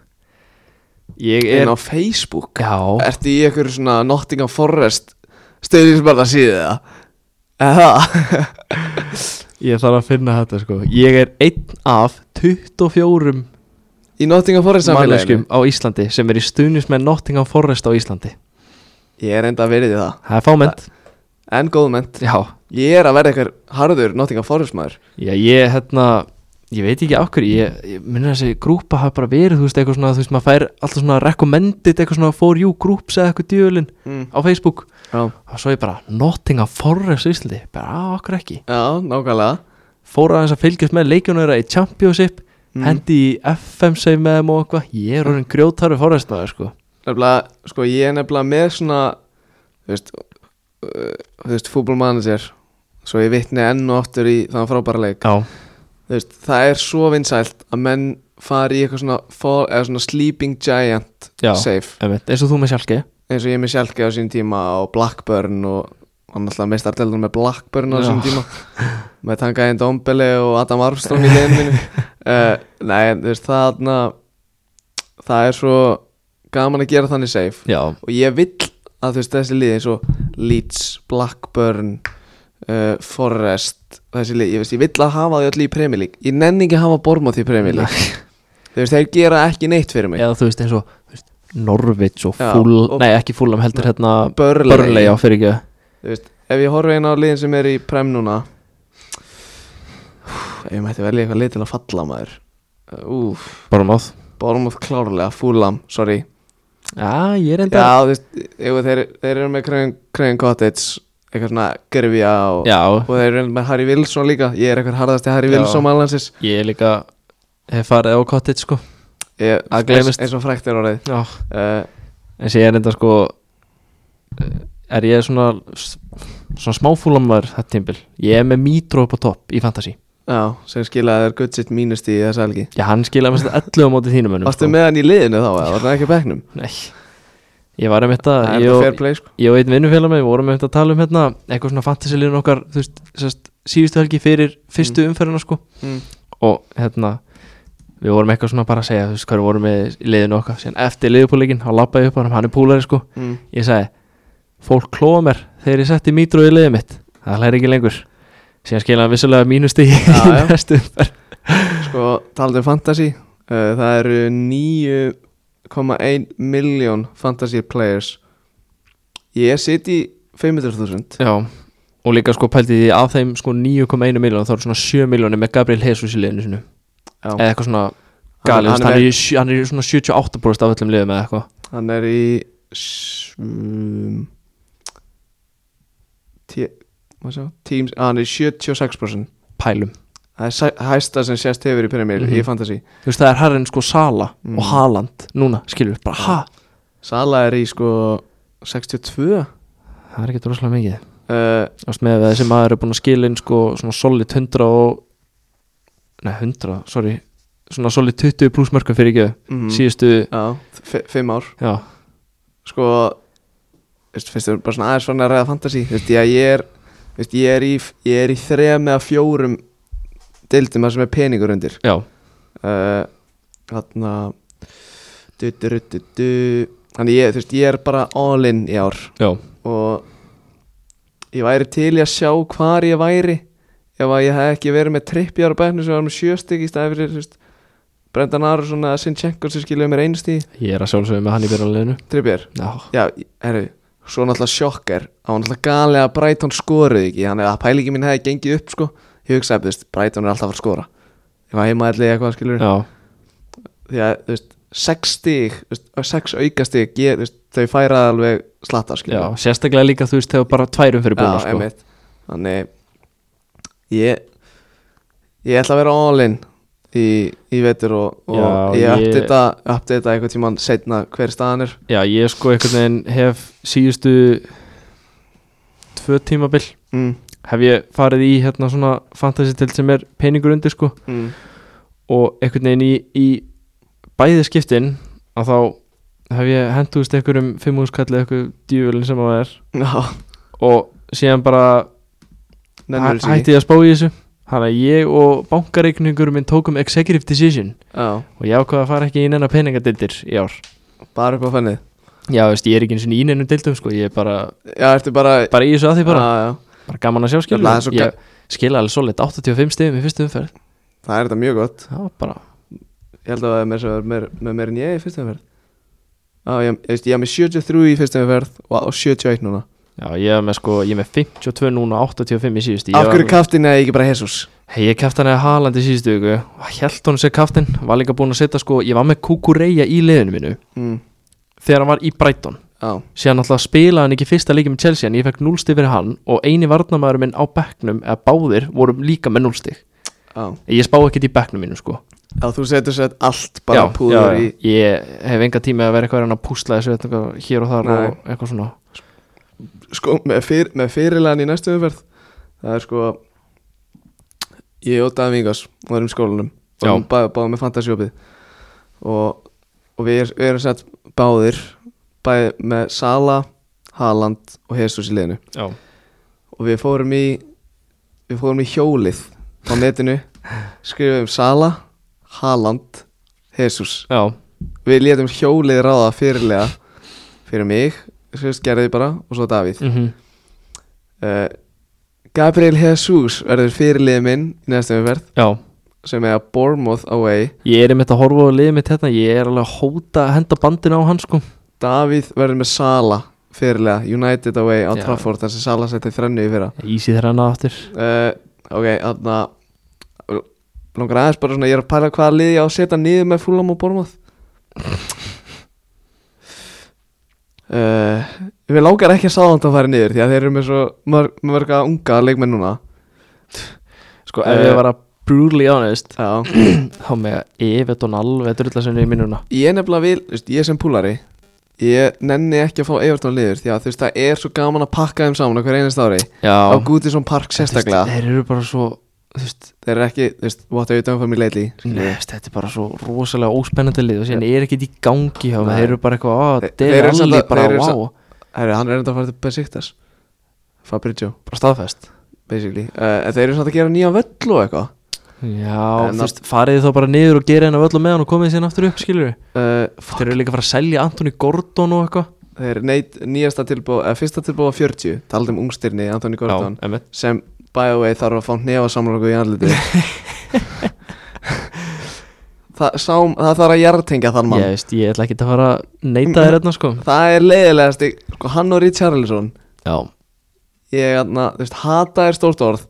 B: Ég er
A: inn á Facebook
B: Já,
A: Ertu í einhverju svona Nottingham Forest stöðisbarða síðu það? Eða?
B: ég þarf að finna þetta, sko Ég er einn af 24
A: Í Nottingham Forest samfélaginu?
B: manneskjum á Íslandi sem er í stuðnus með Nottingham Forest á Íslandi
A: Ég er enda að verið í það
B: Það er fámennt
A: En góðmennt
B: Já,
A: Ég er að verða einhver harður Nottingham Forest maður
B: Já, ég, hérna, ég veit ekki af hverju, ég, ég minna þessi grúpa hafa bara verið, þú veist, eitthvað svona, þú veist, maður fær alltaf svona recommended, eitthvað svona for you groups eða eitthvað djölin
A: mm.
B: á Facebook
A: Já,
B: og svo ég bara, Nottingham Forest Íslandi, bara, á, okkur ekki
A: já nákvæmlega
B: fór aðeins að fylgjast með leikjónur í Championship,
A: Mm.
B: hendi í FM segjum með þeim og eitthvað, ég er orðin grjótarfi Forest maður, sko,
A: Nefnilega, sko ég er nefnilega með svona Þú veist uh, Þú veist, fútbolmanager Svo ég vitni enn og aftur í þann frábæra leik
B: já,
A: Þú veist, það er svo vinsælt að menn fari í eitthvað svona, fall, eða svona sleeping giant
B: já,
A: safe
B: emitt, eins og þú með sjálfki,
A: eins og ég er með Sjálki á sín tíma og Blackburn og hann alltaf mestardeldur með Blackburn á sín
B: Já.
A: tíma með tangaðin Dombele og Adam Armstrong í leginu mínu uh, nei, en þú veist, það þarna, það er svo gaman að gera þannig safe
B: já,
A: og ég vill að þú veist, þessi lið eins og Leeds, Blackburn uh, Forest þessi lið, ég veist, ég vill að hafa þau öll í Premier League ég nenni ekki að hafa Bormoth í Premier League þú veist, þeir gera ekki neitt fyrir mig
B: eða þú veist, eins og, þú veist, Norvits og
A: Já,
B: Full,
A: og-
B: nei, ekki Fulham, heldur hérna,
A: Burnley.
B: Burnley, já, fyrir ekki
A: Þú veist, ef ég horfi einn á liðin sem er í prem núna Ef ég mætti velja eitthvað lið til að falla maður Úf,
B: Bormáð
A: Bormóð klárlega, Fúlam, sorry
B: Já, ég er enda
A: Já, þú veist, ef þeir, þeir eru með Crane Crane Cottage Eitthvað svona gerfja og,
B: Já,
A: og þeir eru með Harry Wilson líka Ég er eitthvað harðasti Harry
B: Já.
A: Wilson malansis
B: ég er líka hef farið á cottage sko Að
A: eins,
B: gleymist.
A: eins og frækt er orðið
B: Já
A: uh,
B: En sé ég er enda sko eh, er ég svona svona smáfúlamar þetta tímbil ég er með mítro upp á topp í fantasy
A: Já, sem skilaði þér guttsitt mínust í þessa helgi
B: Já, hann skilaði mest 11 á móti þínum önum
A: Varstu með hann í liðinu þá, eða var hann ekki á bekknum?
B: Nei Ég var einmitt að
A: Það er
B: ég
A: þetta
B: og-
A: fair play, sko
B: ég og einn vinnufélag með, við vorum einmitt að tala um hérna eitthvað svona fantasy-liðin okkar þú veist, sest, síðustu helgi fyrir fyrstu umferðina sko
A: mm.
B: og hérna við vorum eitthvað svona bara að segja þú veist hvað við vorum með í liðinu okkar síðan eftir liðupúleikin, þá lappa ég upp á hann, hann er púlari sko
A: Mm.
B: ég sagði, fólk klóa mér þegar ég setti mítru í liðið mitt það hlæri ekki lengur síðan skilja hann vissulega mínusti í
A: Já, já.
B: næstu umferð
A: Sko, talandi um fantasy uh, Það eru 9,1 miljón fantasy players Ég sit í 500.000
B: já, og líka sko pældi því af þeim sko 9,1 miljón þá eru svona 7 miljónir með Gabriel Jesus í liðinu sinu
A: Já.
B: eða eitthvað svona galið,
A: Hann-
B: hann,
A: hann
B: hann, er í sjö- hann er í svona 78% af öllum liðum eða eitthvað
A: Hann er í s- um, tí- hvað sjá? Teams, að hann er í 76%
B: pælum,
A: Það er sæ- hæsta sem sést hefur í Premier
B: Mhm.
A: í fantasy
B: þú veist það er herrin sko Sala
A: Mm.
B: og Haaland núna, skilur við, bara ha
A: Sala er í sko 62
B: það er ekki rosalega mikið
A: uh,
B: Þú veist með að þessi maður er búin að skila inn sko svona solid 100 og Nei 100, sorry Svona solid 20 pluss mörgum fyrir ekki
A: mm,
B: Síðustu,
A: Já, f- fimm ár
B: já,
A: sko veist, finnst þér bara svona aðeins svona að ræða fantasy þú veist, ég, ég er þú veist, ég er í, ég er í þrem eða fjórum deildum að sem er peningur undir
B: já
A: uh, þarna du, du, du, du, du. þannig ég, þú veist, ég er bara all in í ár
B: Já,
A: og ég væri til í að sjá hvar ég væri ef að ég hef ekki verið með tripp í ára bæknu sem var með sjöstig í staði fyrir þú veist, Brendan Aronson eða Sinchenko sem skilja mér einu stíð
B: Ég er að sjálfsögja með hann í byrjanleginu
A: Trippier
B: Já,
A: Já, herru, svo náttúrulega sjokker Það var náttúrulega galið að Brighton skoruð ekki Þannig að pælingi mín hefði gengið upp sko Ég hugsaði, þú veist, Brighton er alltaf að fara að skora Ég var heima allir eitthvað skilur
B: já,
A: Því að, þú veist, sex stig þú veist, og Sex auka stig, ég, þú veist, þau færað alveg slatta
B: já
A: skilur
B: Sérstaklega líka þú veist þegar bara tværum fyrir búinu sko.
A: einmitt Þannig, ég Ég ætla að vera all in Í, í vetur og, og
B: Já,
A: ég
B: ég-
A: uppdita Uppdita eitthvað tíman setna hver staðan er
B: Já, ég sko einhvern veginn hef síðustu tvö tímabil
A: mm,
B: hef ég farið í hérna svona fantasy til sem er peningur undir sko
A: mm,
B: og einhvern veginn í, í bæði skiptin að þá hef ég hendúst einhverjum fimmúskallið einhverjum djúvelin sem það er
A: Já,
B: og síðan bara hæ-
A: nennur
B: hætti ég að spá í þessu þannig að ég og bankareikningur minn tókum executive decision
A: Já,
B: og ég ákvaði að fara ekki í neina peningadildir í ár
A: bara upp á fennið
B: já veist ég er ekki eins og í neinum dildum sko ég er bara,
A: Já, ertu bara
B: bara í þessu að því bara,
A: Já, já.
B: bara gaman að sjá
A: Nefnilega, Ah. það er
B: skilur
A: svo
B: ég skila alveg svolít 85 stegum í fyrstu umferð
A: Það er þetta mjög gott
B: já bara
A: Ég held að það er meira sem er meir, með meir en ég í fyrstu umferð Já, ég, ég, veist, ég haf með 73 í fyrstu umferð og, og 71 núna
B: Já, ég er með sko, ég er með 52 núna 85 í síðustu Ég
A: Af
B: var-
A: hverju kaftin eða ekki bara Jesus?
B: Hey, ég kæfti hann eða Haaland í síðustu viku Hjælt honum sér kæftin Var líka búinn að setja sko Ég var með Kukureya í liðinu mínu
A: Mm.
B: Þegar hann var í Brighton
A: Já,
B: Síðan alltaf spilaði hann ekki fyrsta leikið með Chelsea En ég fekk núlstig fyrir hann Og eini varnamæður minn á bekknum Eða báðir vorum líka með núlstig
A: já
B: Ég spá ekkert í bekknum mínu sko
A: Já, þú setur sér allt bara
B: Já,
A: púður
B: já, já.
A: í
B: Ég hef enga tími að vera eitthvað að reyna að púsla þessu eitthvað, Hér og þar
A: Nei.
B: og eitthvað svona
A: sko, með, fyr, með fyrirlegan í næstu umferð það er sko ég og Davíð Vingas og erum í skólanum og
B: Já.
A: erum bá, báðum með fantasjópið og, og við, er, við erum sett báðir bæði með Sala, Haaland og Jesus í liðinu
B: Já,
A: og við fórum í við fórum í hjólið á netinu skrifum Sala, Haaland Jesus
B: já,
A: við létum hjólið ráða fyrirlega fyrir mig, sérst gerði bara og svo Davíð
B: mm
A: Uh, Gabriel Jesus verður fyrirlið minn í næstu umferð
B: já
A: sem er að Bournemouth away
B: Ég er einmitt að horfa á liðið mitt hérna Ég er alveg að hóta að henda bandinu á hann sko
A: Davíð verður með Sala fyrirlega United away á
B: Já.
A: Trafford þar sem Sala setti þrennu í fyrra
B: Ísi þeirra hana aftur
A: uh, ok, þarna langar aðeins bara svona ég er að pæla hvaða lið ég á að setja niður með Fulham og Bournemouth uh, við langar ekki að sáðan að fara niður því að þeir eru með svo mörg, mörga unga leikmenn núna
B: Sko ef ég var að brutally honest
A: Eh, já
B: Þá með Everton alveg drullar sem er í minnuna
A: Ég nefnilega vil, þú veist, ég sem púlari Ég nenni ekki að fá Evertón liður Því að þú veist, það er svo gaman að pakka þeim saman á hver einast ári Á
B: Já
A: Goodison Park sérstaklega
B: Þeir eru bara svo Þú veist
A: Þeir eru ekki, þú veist, what have you done for me lately skilur
B: Nei,
A: við.
B: veist, þetta er bara svo rosalega óspennandi lið og síðan er ekki í gangi hjá þeim.
A: Nei.
B: þeir eru bara eitthvað að
A: Þeir-
B: Dele
A: þeir eru
B: Alli
A: samt að-
B: bara
A: þeir eru
B: wow,
A: samt- Herru, hann er enda að fara til Besiktas Fabrizio,
B: bara staðfest
A: basically uh, en Þeir eru samt að gera nýja völl og eitthvað
B: Já,
A: En
B: þú
A: að-
B: veist, farið þið þá bara niður og gera hennar völlum með hann og komið síðan aftur upp, skilur
A: uh,
B: Þeir eru líka að fara að selja Antoni Gordon og eitthvað
A: Þeir neitt nýjasta tilbúð, eða fyrsta tilbúð var 40 Taldi um ungstirni, Anthony Gordon
B: Já, emmitt
A: Sem, by the way, þarf að fá nefa samlokku í andliti Þa, sá, það þarf að jartengja þann mann
B: Ég veist, ég ætla ekki að fara að neita þér hérna, sko
A: Það er leiðilegast sko, Hann og Richarlison
B: Já,
A: Ég þarna, þú veist, hata er stórt orð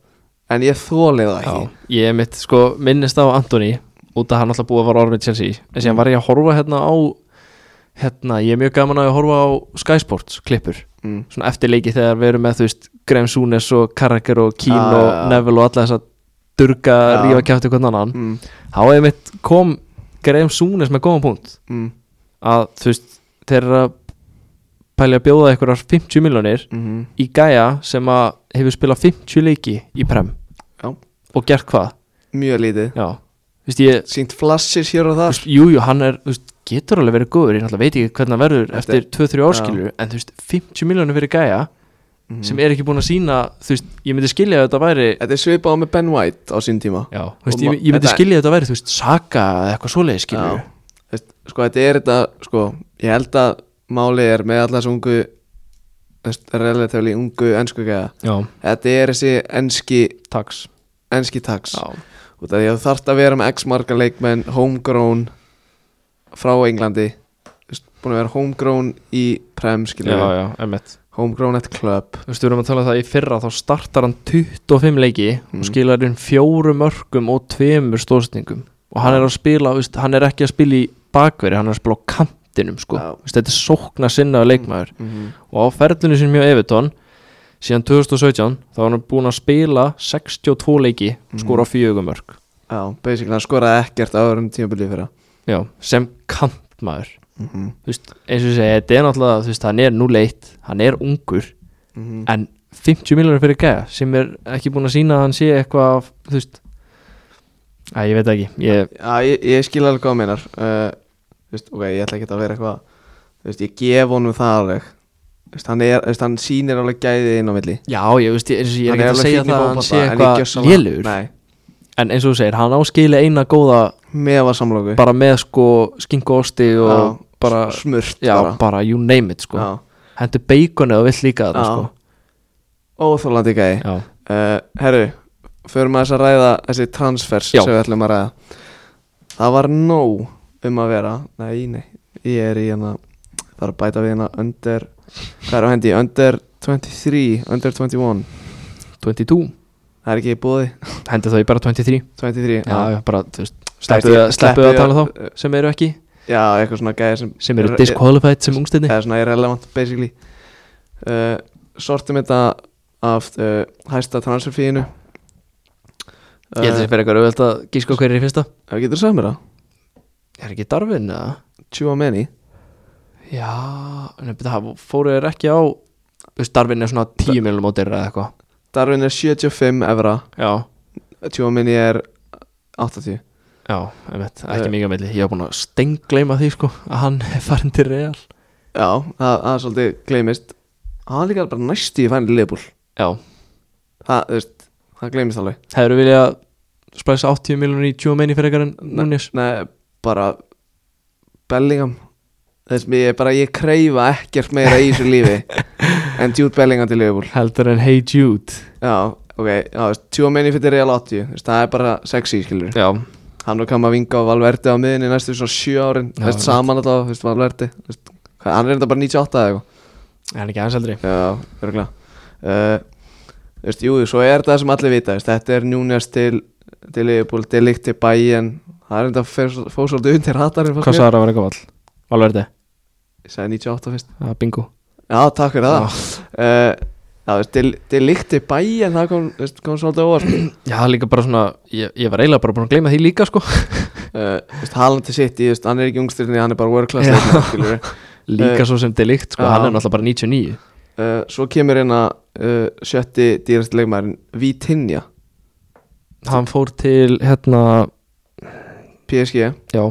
A: En ég þóli það
B: Já,
A: ekki
B: ég mitt sko minnist á Antoni út að hann alltaf búið að fara orðin með Chelsea en
A: Mm.
B: síðan var ég að horfa hérna á hérna, ég er mjög gaman að horfa á Sky Sports klippur,
A: mm.
B: svona eftir leiki þegar við erum með þú veist Graham Souness og Carragher og Keane
A: Já,
B: og
A: Ah, já, já.
B: Neville og alla þess að durga,
A: Já.
B: rífa kjátti hvernig annan
A: Mm,
B: þá ég mitt kom Graham Souness með góðan punkt
A: mm,
B: að þú veist, þeir eru að pæli að bjóða einhverjar 50 miljonir
A: mm,
B: í gæja sem að hefur spilað 50 leiki í prem
A: Já.
B: og gert hvað?
A: Mjög lítið
B: Já, þú veist ég
A: Sýnt flassis hér og
B: þú
A: þar
B: veist, Jú, jú, hann er, þú veist, getur alveg verið góður Ég náttúrulega veit ekki hvernig hann verður
A: Þetta
B: eftir 2-3
A: já.
B: árskilur En þú veist, 50 miljónir fyrir gæja
A: Mhm.
B: Sem er ekki búin að sína, þú veist, ég myndi skilja að þetta væri
A: Þetta er svipað á með Ben White á sín tíma
B: Já, þú veist,
A: Og
B: ég,
A: ma-
B: ég myndi
A: þetta-
B: skilja að þetta væri, þú veist, saga eða eitthvað svoleiði skilur
A: Þú veist, Sko, þetta er þetta, sko Ég held að málið er með allas ungu þú veist, Relatively ungu ennsku gæða
B: Já,
A: Þetta er þessi enski,
B: tax
A: enski tax
B: Já,
A: út af því að þú þarft að vera með x marga leikmenn homegrown frá Englandi Þú veist, búin að vera homegrown í prem
B: já,
A: skilur
B: já, emmitt
A: homegrown at club
B: Þú veist, við erum að tala um það í fyrra þá startar hann 25 leiki
A: Mm.
B: og skilar inn fjórum örkum og tveimur stóðsendingum og hann er að spila, þú veist, hann er ekki að spila í bakveri, hann er að spila á kantinum sko.
A: Já.
B: Þú veist, þetta er sókna sinnaði leikmaður
A: mm -hmm.
B: og á ferlunni sinni mjög Evertón síðan 2017 þá var hann búin að spila 62 leiki
A: Mhm.
B: og skora fjögum örk
A: já, basically hann skoraði ekkert áður um tímabilið fyrra
B: Já, sem kantmaður
A: mm -hmm.
B: Þú veist, eins og ég segi, þetta er náttúrulega þú veist, hann er 0-1, hann er ungur
A: Mm
B: en 50 miljonir fyrir gæja sem er ekki búin að sína að hann sé eitthvað þú veist Æ, ég veit ekki, ég,
A: Já, ég, ég skil alveg hvað þú meinar uh, þú veist, ok, ég ætla ekki að vera eitthvað þú veist, ég gef honum það alveg Þú veist, hann, er, þú veist, hann sýnir alveg gæðið inn á milli
B: já, ég veist ég, eins og ég er
A: Hann
B: ekki að
A: alveg
B: segja
A: fínn í
B: það að hann
A: fótbolta,
B: sé
A: en ég
B: eitthvað
A: gjörsamlega-
B: lélugur
A: Nei,
B: en eins og þú segir, hann áskili eina góða
A: með var samlóku
B: bara með sko skinku og osti og
A: Já,
B: bara,
A: smurt
B: já,
A: bara,
B: bara you name it sko,
A: Já,
B: hendur bacon eða vill líka þetta
A: Já.
B: sko
A: óþólandi gæði
B: já,
A: uh, Herru, förum að þess að ræða þessi transfers
B: Já.
A: sem við ætlum að ræða Það var nóg um að vera Nei, nei, ég er í hérna Það er að bæta við hérna under Hvað er á hendi? Under 23, under 21
B: 22
A: Það er ekki í Ah, bóði
B: hendur þá í bara 23
A: 23
B: já, já, bara, þú veist,
A: Nei,
B: sleppuðu að-
A: ég-
B: sleppuðu að
A: sleppuðu
B: tala
A: að-
B: þá sem eru ekki,
A: Eh, Já, eitthvað svona gæði sem
B: sem eru
A: Er-
B: disqualified sem ungstinni
A: eða svona irrelevant basically uh, sortum þetta af uh, hæsta transferfíinu Eh,
B: ég held að það fyrir eitthvað auðvelt að gíska hver er í fyrsta
A: Það getur sagt mér það,
B: er ekki Darwin eða?
A: tjúa menni
B: já, nefnir það fóru þér ekki á þú veist, Darwin er svona 10 miljonum á dyrra eða eitthvað
A: Darwin er 75 evra
B: já,
A: tjúa menni er 80
B: já, einmitt, ekki mikið að milli ég hef búin að stengleima því sko að hann er farin til real
A: Já, það það er svolítið gleymist Það er líka bara næstu í fænni leifbúl
B: já,
A: Það, þú veist, það gleymist alveg
B: hefur þú viljað splæsa 80 miljonum í 20 meini fyrir eitthvað en Núnes
A: Nei, bara Bellingham Þess mér, ég bara, ég kreyfa ekkert meira í þessu lífi En Jude Bellingham til leifbúl
B: heldur en Hey Jude
A: Já, ok, já, veist, tjúa minni fyrir Real 80 veist, Það er bara sexy, skilur
B: já,
A: Hann og kam að vinga á Valverdi á miðinni næstu svona sjö árin
B: Já,
A: já, veist,
B: einmitt.
A: Saman alltaf, veist, Valverdi veist, hvað, Hann er þetta bara 98 eða eitthvað
B: er hann ekki aðeins aldrei
A: Já, örgulega uh, veist, Jú, svo er þetta sem allir vita veist, Þetta er Núnes til til Liverpool, til líkt til Bayern Það er þetta fyrir svo- fór svolítið undir ratarinn
B: hvað sagður að vera eitthvað vall alveg er
A: Ég sagði 98 fyrst
B: þetta, bingo
A: Já, takk fyrir það uh, Já, veist, til, til líkt til Bayern Það kom, veist, kom svolítið óvart
B: já, líka bara svona, ég, ég var eiginlega bara búin að gleyma því líka sko
A: uh, veist, Haaland til City, þú veist, hann er ekki ungstirni hann er bara world class
B: Já.
A: leikmaður, skilur við.
B: líka svo sem delikt sko,
A: já.
B: hann er náttúrulega bara 99
A: uh, svo kemur hérna uh, sjötti dýrast leikmaðurinn Vitinja,
B: hann fór til hérna
A: PSG
B: já,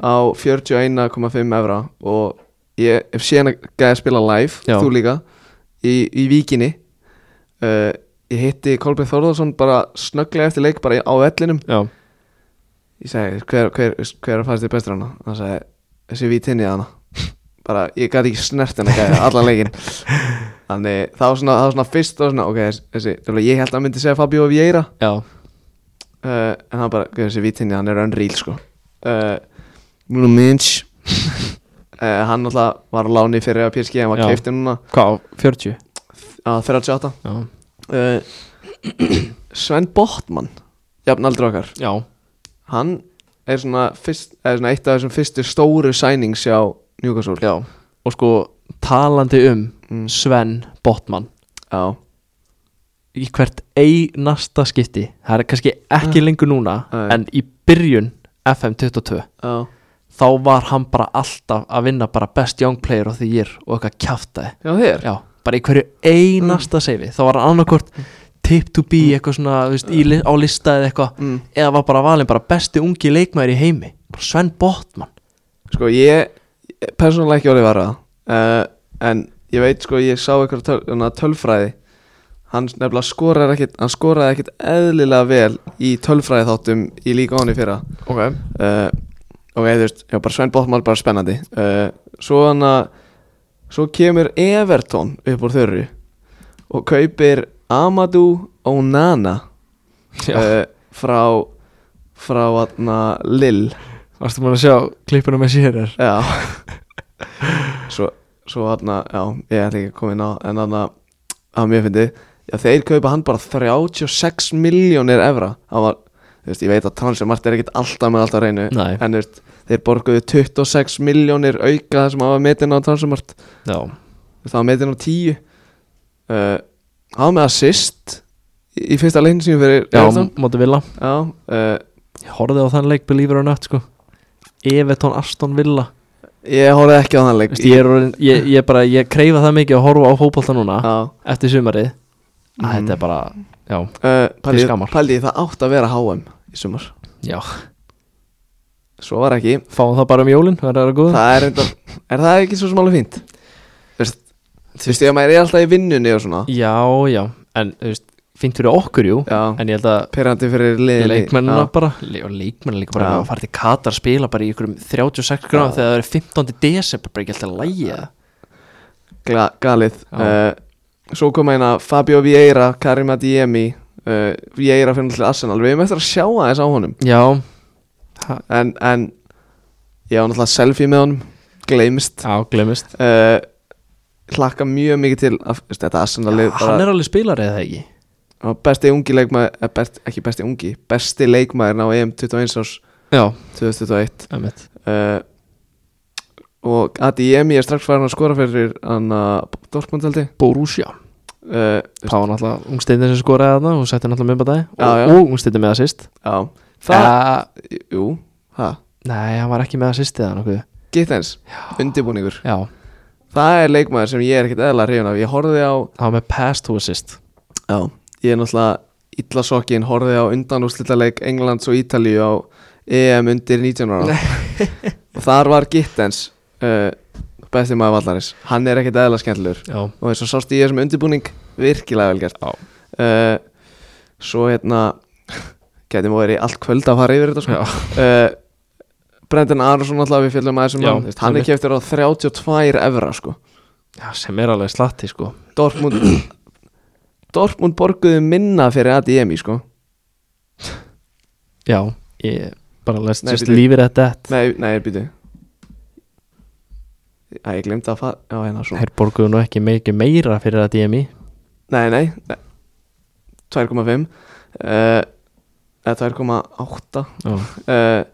A: á 41,5 evra og ég hef séð hann gæði að spila live,
B: Já.
A: þú líka í, í víkinni uh, ég hitti Kolbjörn Þórðarsson bara snögglega eftir leik bara á vellinum
B: já,
A: ég segi, hver, hver, hver fannst þér bestur hana? hann segi, þessi vítinni hana bara, ég gæti ekki snert henni gæði allan leikinn þannig, það var svona, það var svona fyrst og svona, ok, þessi, þessi nefnilega, ég held að hann myndi segja Fabio Vieira uh,
B: já,
A: Eh, en hann bara, guð, þessi vítinni, hann er unreal sko uh, Nuno Minch uh, hann alltaf var á láni fyrir að PSG, hann var
B: Já.
A: keifti núna
B: hvað, á 40
A: á 38
B: já,
A: uh, Sven Botman jafnaldri okkar
B: já,
A: hann er svona, fyrst, er svona eitt af þessum fyrstu stóru sænings hjá Newcastle
B: já og sko, talandi um
A: Mm.
B: Sven Botman
A: Já,
B: í hvert einasta skipti það er kannski ekki lengur núna
A: Nei.
B: en í byrjun FM22
A: já.
B: þá var hann bara alltaf að vinna bara best young player of the year og eitthvað kjaftaði
A: Já, þér?
B: já, bara í hverju einasta mm. seifi þá var hann annarkort tip to be eitthvað svona, þú veist, í, li- á lista eða eitthvað
A: Mm.
B: eða var bara valinn bara besti ungi leikmæður í heimi bara Sven Botman
A: Sko, ég, persónulega ekki orðið var það uh, En ég veit, sko, ég sá eitthvað töl, svona tölfræði Hann nefnilega skoraði ekkit, hann skoraði ekkit eðlilega vel í tölfræði þáttum í líka áni fyrra
B: ok,
A: uh, Ok, þú veist, já, bara Sven Bóttmál, bara spennandi uh, Svo hann að, svo kemur Everton upp úr þörru Og kaupir Amadou Onana
B: já,
A: uh, frá frá hérna, aðna Lill
B: Varstu búin að sjá klippuna með sér er
A: Já Svo, svo aðna, já, ég ætla ekki að koma inn á En aðna, að mér fyndi Já, þeir kaupa hann bara 36 miljónir evra Það var, þú veist, ég veit að Transfer Mart er ekkit alltaf með alltaf reynu
B: Nei,
A: En þú veist, þeir borguðu 26 miljónir auka sem hafa metin á Transfer Mart
B: já,
A: Það var metin á 10 uh, Há með assist í, í fyrsta leikin sem fyrir
B: já,
A: Everton.
B: móti Villa
A: já uh,
B: Ég horfði á þann leik, Believer or Not sko Everton Aston Villa
A: Ég horfði ekki á þann leik
B: Vist, ég, er, orðinn- ég, ég bara, ég kreifa það mikið að horfa á fótbolta núna
A: Já uh,
B: eftir sumarið að
A: Mm.
B: þetta er bara, já,
A: Uh,
B: Til
A: pældi,
B: skammar.
A: pældi það átt að vera HM í sumar
B: já
A: Svo var ekki
B: fáum það bara um jólin, það er að góða
A: Það er reyndar Er það ekki svo smála fínt? Þú veist, Þú veist, ég að maður er alltaf í vinnunni og svona
B: já, já, en þú veist, fint fyrir okkur jú
A: Já,
B: en ég held að
A: perandi fyrir liðin
B: leikmennina bara le og leikmennina líka bara
A: Já.
B: að fara til Katar að spila bara í ykkur 36 gráðum þegar það er 15. desember bara ekki alltaf lægið
A: gla, Galið
B: Já.
A: uh, Svo kom eina Fabio Vieira, Karim Adiemi uh, Vieira fyrir náttúrulega Arsenal Við erum eftir að sjá aðeins á honum
B: já,
A: En, en Ég á náttúrulega selfie með honum Gleimist
B: já, glemist
A: uh, Hlakka mjög mikið til að, þú veist, Þetta Arsenal lið bara-
B: hann er alveg spilarið það ekki
A: Það var besti ungi leikmaður, eh, best, ekki besti ungi, besti leikmaðurinn á EM 21 árs
B: já,
A: 2021
B: einmitt
A: uh, og Adi Emi er strax farin að skora fyrir hann að Dortmund heldig
B: Borussia
A: uh,
B: það var náttúrulega ungsteyndin sem skoraði þarna og setti náttúrulega minnbæði
A: Já, já.
B: og, og ungsteyndin með assist
A: Já, það,
B: það,
A: jú, hæ,
B: nei, hann var ekki með assist eða nokkuð
A: gitt eins, undirbúningur
B: já,
A: Það er leikmaður sem ég er ekkert eðla hrifin af, ég horfði á,
B: hann var með pass to assist
A: já, ég er náttúrulega illa sokkin, horfði á undanúslitaleik Englands og Ítalíu á EM undir 19 ára og þar var Gittens uh, besti maður vallarins, hann er ekkert eðla skemmtilegur
B: já,
A: og eins og sást í þessum undirbúning virkilega vel gert
B: Já.
A: uh, svo hérna gæti móður í allt kvöld að fara yfir þetta sko. uh, Brendan Aronsson alltaf við fjöldum aðeins um
B: Já,
A: hann Þú veist, hann er
B: einmitt.
A: keftur á 32 evra sko.
B: já, sem er alveg slatti sko
A: Dortmund Dortmund borguðu minna fyrir ADM sko.
B: já, ég bara let's
A: Nei,
B: just
A: bíddu.
B: leave it at that
A: nei, nei, býtu Æ, ég glemdi að fara Já, hérna svo
B: þeir borguðu nú ekki mikið meira fyrir að DMI
A: Nei, nei, nei. 2,5 uh, eða 2,8
B: já,
A: uh,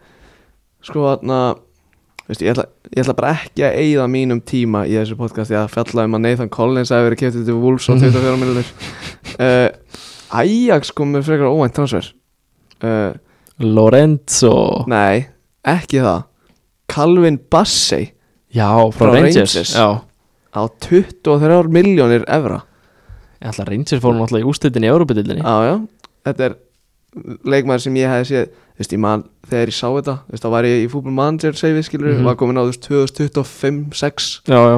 A: sko þarna veist, ég, ætla, ég ætla bara ekki að eigða mínum tíma í þessu podcasti að fjalla um að Nathan Collins hafi verið kæftið til Wolves á 24 miljonir uh, Ajax kom með frekar óvænt transfer uh,
B: Lorenzo
A: nei, ekki það Calvin Bassey
B: já, frá,
A: Frá
B: Rangers,
A: Rangers.
B: já
A: á 23 miljonir evra
B: ég ætla að Rangers fórum náttúrulega í ústættinni í Európa-dildinni
A: Já, já, þetta er leikmaður sem ég hefði séð Þú veist, ég man, þegar ég sá þetta Þú veist, þá var ég í fútbol manager, segi við skilur
B: Mhm.
A: Var komin á þú veist 2025, 6
B: já, já,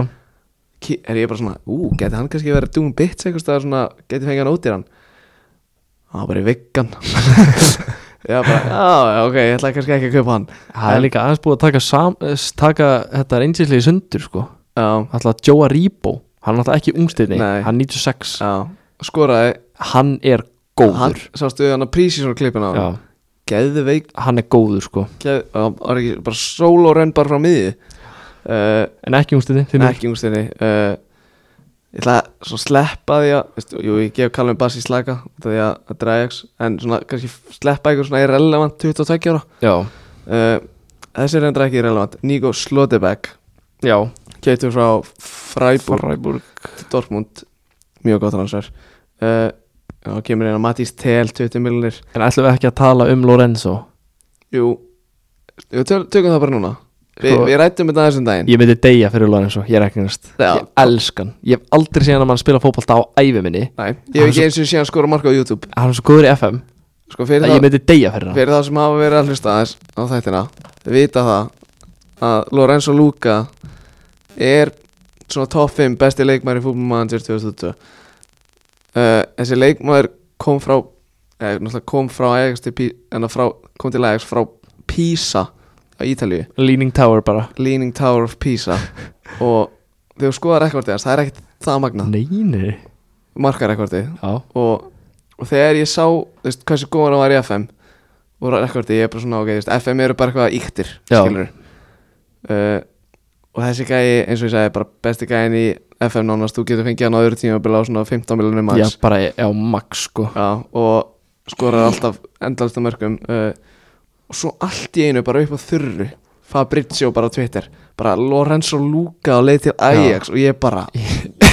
A: Ki- Er ég bara svona, ú, geti hann kannski verið Doom bits eitthvað staðar svona, geti fengið hann út í hann Það var bara í viggan Já, bara, já, já, ok Ég ætla kannski ekki að kaupa hann
B: það
A: En-
B: er líka aðeins búið að taka, sam, eh, taka þetta Rangerslið í sundur sko
A: Já,
B: alltaf Joe Aribo hann er alltaf ekki ungstættinni,
A: Nei.
B: hann 96
A: já, skoraði
B: hann er góður
A: hann, Sástu hann að prísi svona klippin á
B: já,
A: Geðveik,
B: hann er góður sko
A: geð, já, var ekki bara solo renn bara frá miði uh,
B: en ekki ungstættinni,
A: Nei,
B: finnur
A: ekki úrstinni uh, Ég ætla að svo sleppa því að veist, Jú, ég gef Callum Bassi slaka út af Því að, að Drajax En svona, kannski sleppa ykkur svona irrelevant 22 ára
B: já,
A: uh, Þessi er endur ekki irrelevant Nico Slotebæk
B: já,
A: Keitur frá Freiburg
B: Freiburg
A: Dortmund Mjög gott hansver uh, Og kemur inn að Matís Tel 20 miljonir
B: en ætlum við ekki að tala um Lorenzo
A: Jú, við töl- tökum það bara núna Vi,
B: Sko-
A: Við rættum þetta aðeins um daginn
B: Ég myndi deyja fyrir Lorenzo, ég er ekki næst
A: Já.
B: Ég elskan, ég hef aldrei séð hann að mann spila fótbolta á ævi minni
A: Nei, ég hef ekki eins og sé hann skora marka á YouTube
B: Hann er svo góður í FM
A: Sko fyrir
B: að
A: það
B: ég myndi deyja fyrir hann
A: fyrir þá sem hafa verið að hlusta aðeins á þættina vita það að Lorenzo Luca er svona top 5 besti leikmæri fútbolmanager 2002 uh, Eh, þessi leikmæður kom frá eh, náttúrulega kom frá Ajax til Pí, en að frá, kom til Ajax frá Pisa á Ítalíu
B: Leaning Tower bara
A: Leaning Tower of Pisa og þegar þú skoðar rekordið hans það er ekkert það magna
B: Nei, nei
A: markarekordið
B: Já,
A: og, og þegar ég sá þú veist, hversu góðan hann var í FM úr rekordi, ég er bara svona ok, þú veist, FM eru bara eitthvað íktir,
B: Já.
A: skilur uh, og þessi gæi, eins og ég sagði, bara besti gæin í FM nánast, þú getur fengið hann á öðru tíma á svona 15 miljonum
B: Já,
A: manns
B: bara á max sko
A: Já, og skorar alltaf endalasta mörgum uh, og svo allt í einu bara upp á þurru Fabrizio bara á Twitter bara Lorenzo Luca á leið til Ajax og ég bara,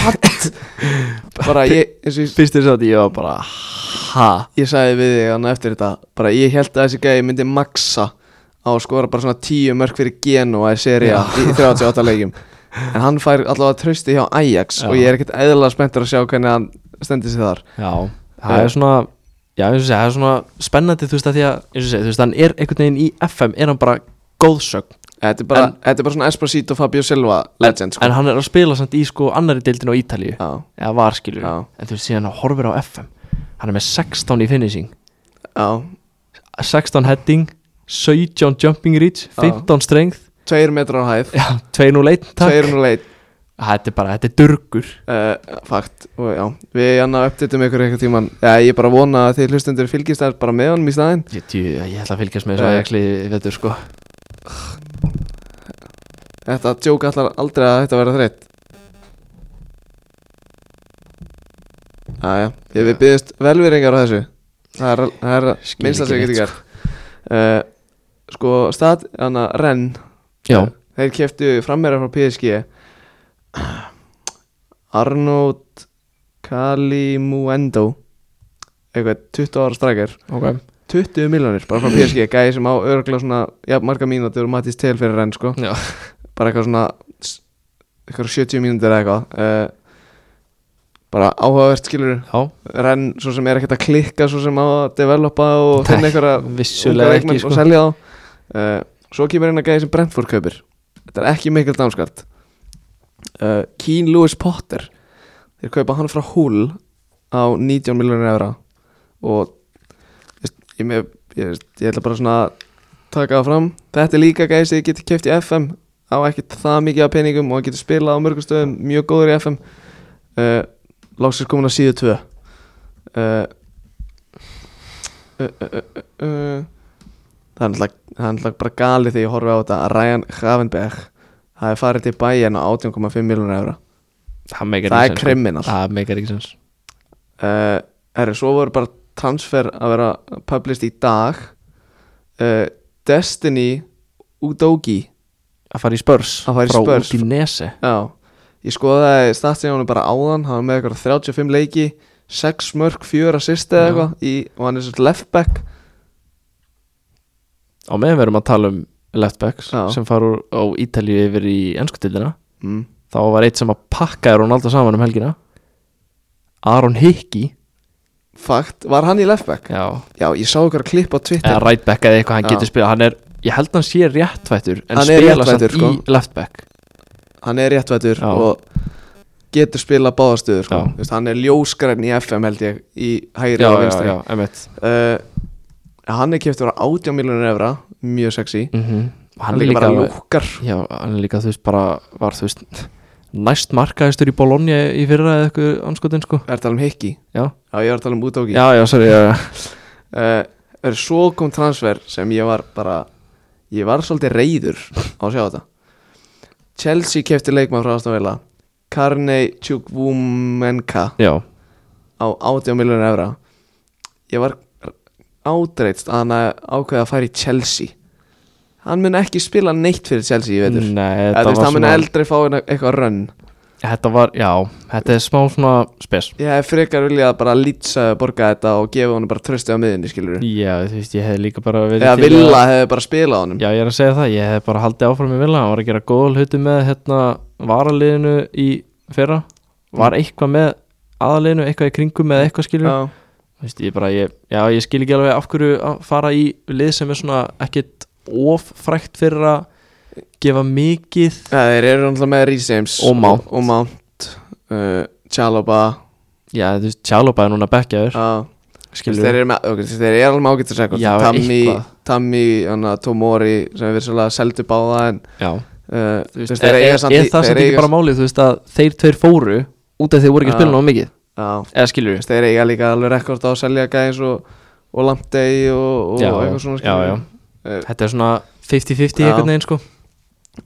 A: what? bara ég, eins og ég
B: Fyrst þess að ég var bara Ha?
A: ég sagði við þig hann eftir þetta bara ég held að þessi gæði myndi maxa á að skora bara svona tíu mörg fyrir Genoa í seria í 38 leikjum en hann fær allavega trösti hjá Ajax
B: Já.
A: og ég er ekkert eðla spenntur að sjá hvernig hann stendur sig þar
B: Já, það er svona Já, eins og segja, það er svona spennandi þú veist að því að eins og segja, þú veist, hann er einhvern veginn í FM er hann bara góðsögn
A: þetta er bara,
B: En-
A: þetta er bara svona Esposito Fabio Silva legend sko.
B: en hann er að spila samt í sko annari deildin á Ítalíu
A: já,
B: eða var skilur
A: Já.
B: en þú veist síðan hann horfir á FM hann er með 16 í finishing
A: já,
B: 16 heading 17 jumping reach 15 strength
A: tveir metrar á hæð
B: já, 201 takk
A: tveir um nú leit
B: þetta er bara, þetta er durgur
A: uh, fakt og já, við annar uppdýttum ykkur eitthvað tíman já, ég bara vona að þið hlustundur fylgist þær bara með honum í staðinn
B: ég, djú, ég ætla að fylgjast með þessu
A: Nei.
B: aðjakli veitur sko
A: þetta djók allar aldrei að þetta verða þreytt Jæja, ég við byggðist velveringar á þessu Það er, það er
B: Skil
A: minnst að segja
B: ekki
A: getur
B: neitt,
A: gert uh, Sko, stað, hana, Renn
B: já,
A: Þeir keftu frammeira frá PSG Arnold Kalimuendo Eitthvað 20 ára strækir
B: ok
A: 20 miljonir bara frá PSG Gæði sem á örgla svona, já, marga mínútur og matist til fyrir Renn, sko
B: já,
A: bara eitthvað svona s- eitthvað 70 mínútur eða eitthvað uh, bara áhugavert skilur
B: já
A: renn svo sem er ekkert að klikka svo sem á að developa og
B: Nei,
A: finna eitthvað
B: vissulega ekki
A: og
B: sko
A: selja þá uh, svo kemur einn að gæði sem Brentford kaupir þetta er ekki mikil dánskart uh, Keen Lewis Potter þeir kaupa hann frá Hull á 19 miljonir evra og veist, ég, ég, ég, veist, ég ætla bara svona að taka það fram þetta er líka gæði sem ég geti keft í FM á ekkert það mikið af peningum og hann getur spilað á mörgum stöðum mjög góður í FM uh, Lóksins komin á síðu 2 uh, uh, uh, uh, uh, Það er náttúrulega- það er náttúrulega bara galið þegar ég horfi á þetta að Ryan Gravenberg hafi farið til bæjan á 18,5 miljonar eura
B: það meikar
A: Það er
B: ekki sens, sko.
A: kriminal
B: það meikar ekki sens
A: uh, Herri, svo voru bara transfer að vera published í dag uh, Destiny Udogi
B: að fara í spörs
A: Að fara í Spurs.
B: frá Udinese
A: Já, ég skoðaði statsin á hann bara áðan hann var með eitthvað 35 leiki 6 mörg, 4 assist eða
B: Já.
A: eitthvað í- og hann er svolítið left back
B: á meðan við erum að tala um leftbacks
A: Já.
B: sem fara úr- á Ítalíu yfir í ennskutildina
A: mm.
B: þá var eitt sem að pakkaði Ronaldo saman um helgina Aron Hickey
A: Fakt, var hann í left back?
B: já,
A: Já, ég sá ykkur klipp á Twitter
B: eða rightback eða eitthvað hann
A: Já.
B: getur spila hann er, ég held hann sé réttvættur en
A: Hann er
B: spila samt
A: réttfættur, sko.
B: í leftback
A: hann er réttvættur
B: Já.
A: og getur spila báðastöður sko.
B: Já.
A: Þú veist, hann er ljósgræn í FM held ég í hægri
B: já,
A: og
B: já,
A: vinstri
B: já, emitt
A: Uh, hann er keftur á 18 miljonir evra mjög sexy
B: mm
A: Mhm. hann, er líka bara lúkar
B: já, hann er líka þú veist bara var þú veist næst markaðistur í Bologna í fyrra eða eitthvað anskotin sko
A: er að tala um hikki
B: já,
A: já ég er að tala um útóki
B: já, já, sorry já, já.
A: uh, er svo kom transfer sem ég var bara ég var svolítið reyður á að sjá þetta Chelsea kefti leikmann frá Astanvela Karnei Tjúkvumenka
B: já,
A: á 18 miljonir evra ég var ádreitst að hann ákveða að fara í Chelsea hann mun ekki spila neitt fyrir Chelsea ég veitur mm, það
B: nei, þetta var
A: hann mun
B: svona
A: eldri fá eina- eitthvað rönn
B: þetta var, já, þetta er smá svona spes
A: ég hef frekar viljað bara lýtsa borga þetta og gefa honum bara trösti á miðinni skilur
B: Já, þú veist, ég hefði líka bara verið
A: eða
B: til
A: Villa
B: að,
A: hefði bara spilað á honum
B: Já, ég er að segja það, ég hefði bara haldið áfram í Villa Hann var að gera góða hluti með hérna varaliðinu í fyrra Var eitthvað með aðaliðinu, eitthvað í kringum eða eitthvað skilur
A: Já.
B: Þú veist, ég bara, ég, já, ég skil ekki alveg af hverju að fara í lið sem er svona ekkit of frækt fyrir að gefa mikið
A: Ja, þeir eru náttúrulega með Reece James
B: Og Mount.
A: og, og Mount uh, Chalaba
B: Já, þú veist, Tjálópa er núna bekkjaður
A: uh,
B: Skilur
A: þeir eru með, ok, þeir eru alveg með ágættis rekord
B: Já,
A: Tammy,
B: eitthvað.
A: Tammy hana, Tomori sem við svolítið seldu báða en
B: Já,
A: uh,
B: þú veist, er, er, er það sem ekki bara málið, þú veist, að þeir tveir fóru út af því að þeir voru ekki að
A: Já.
B: spila nóg mikið
A: já,
B: Eða skilur
A: þú veist, þeir eiga líka alveg rekord á að selja gæðins og, og langt degi og, og
B: Já,
A: eitthvað svona
B: já, já.
A: já.
B: Þetta er svona 50-50
A: Já.
B: einhvern veginn sko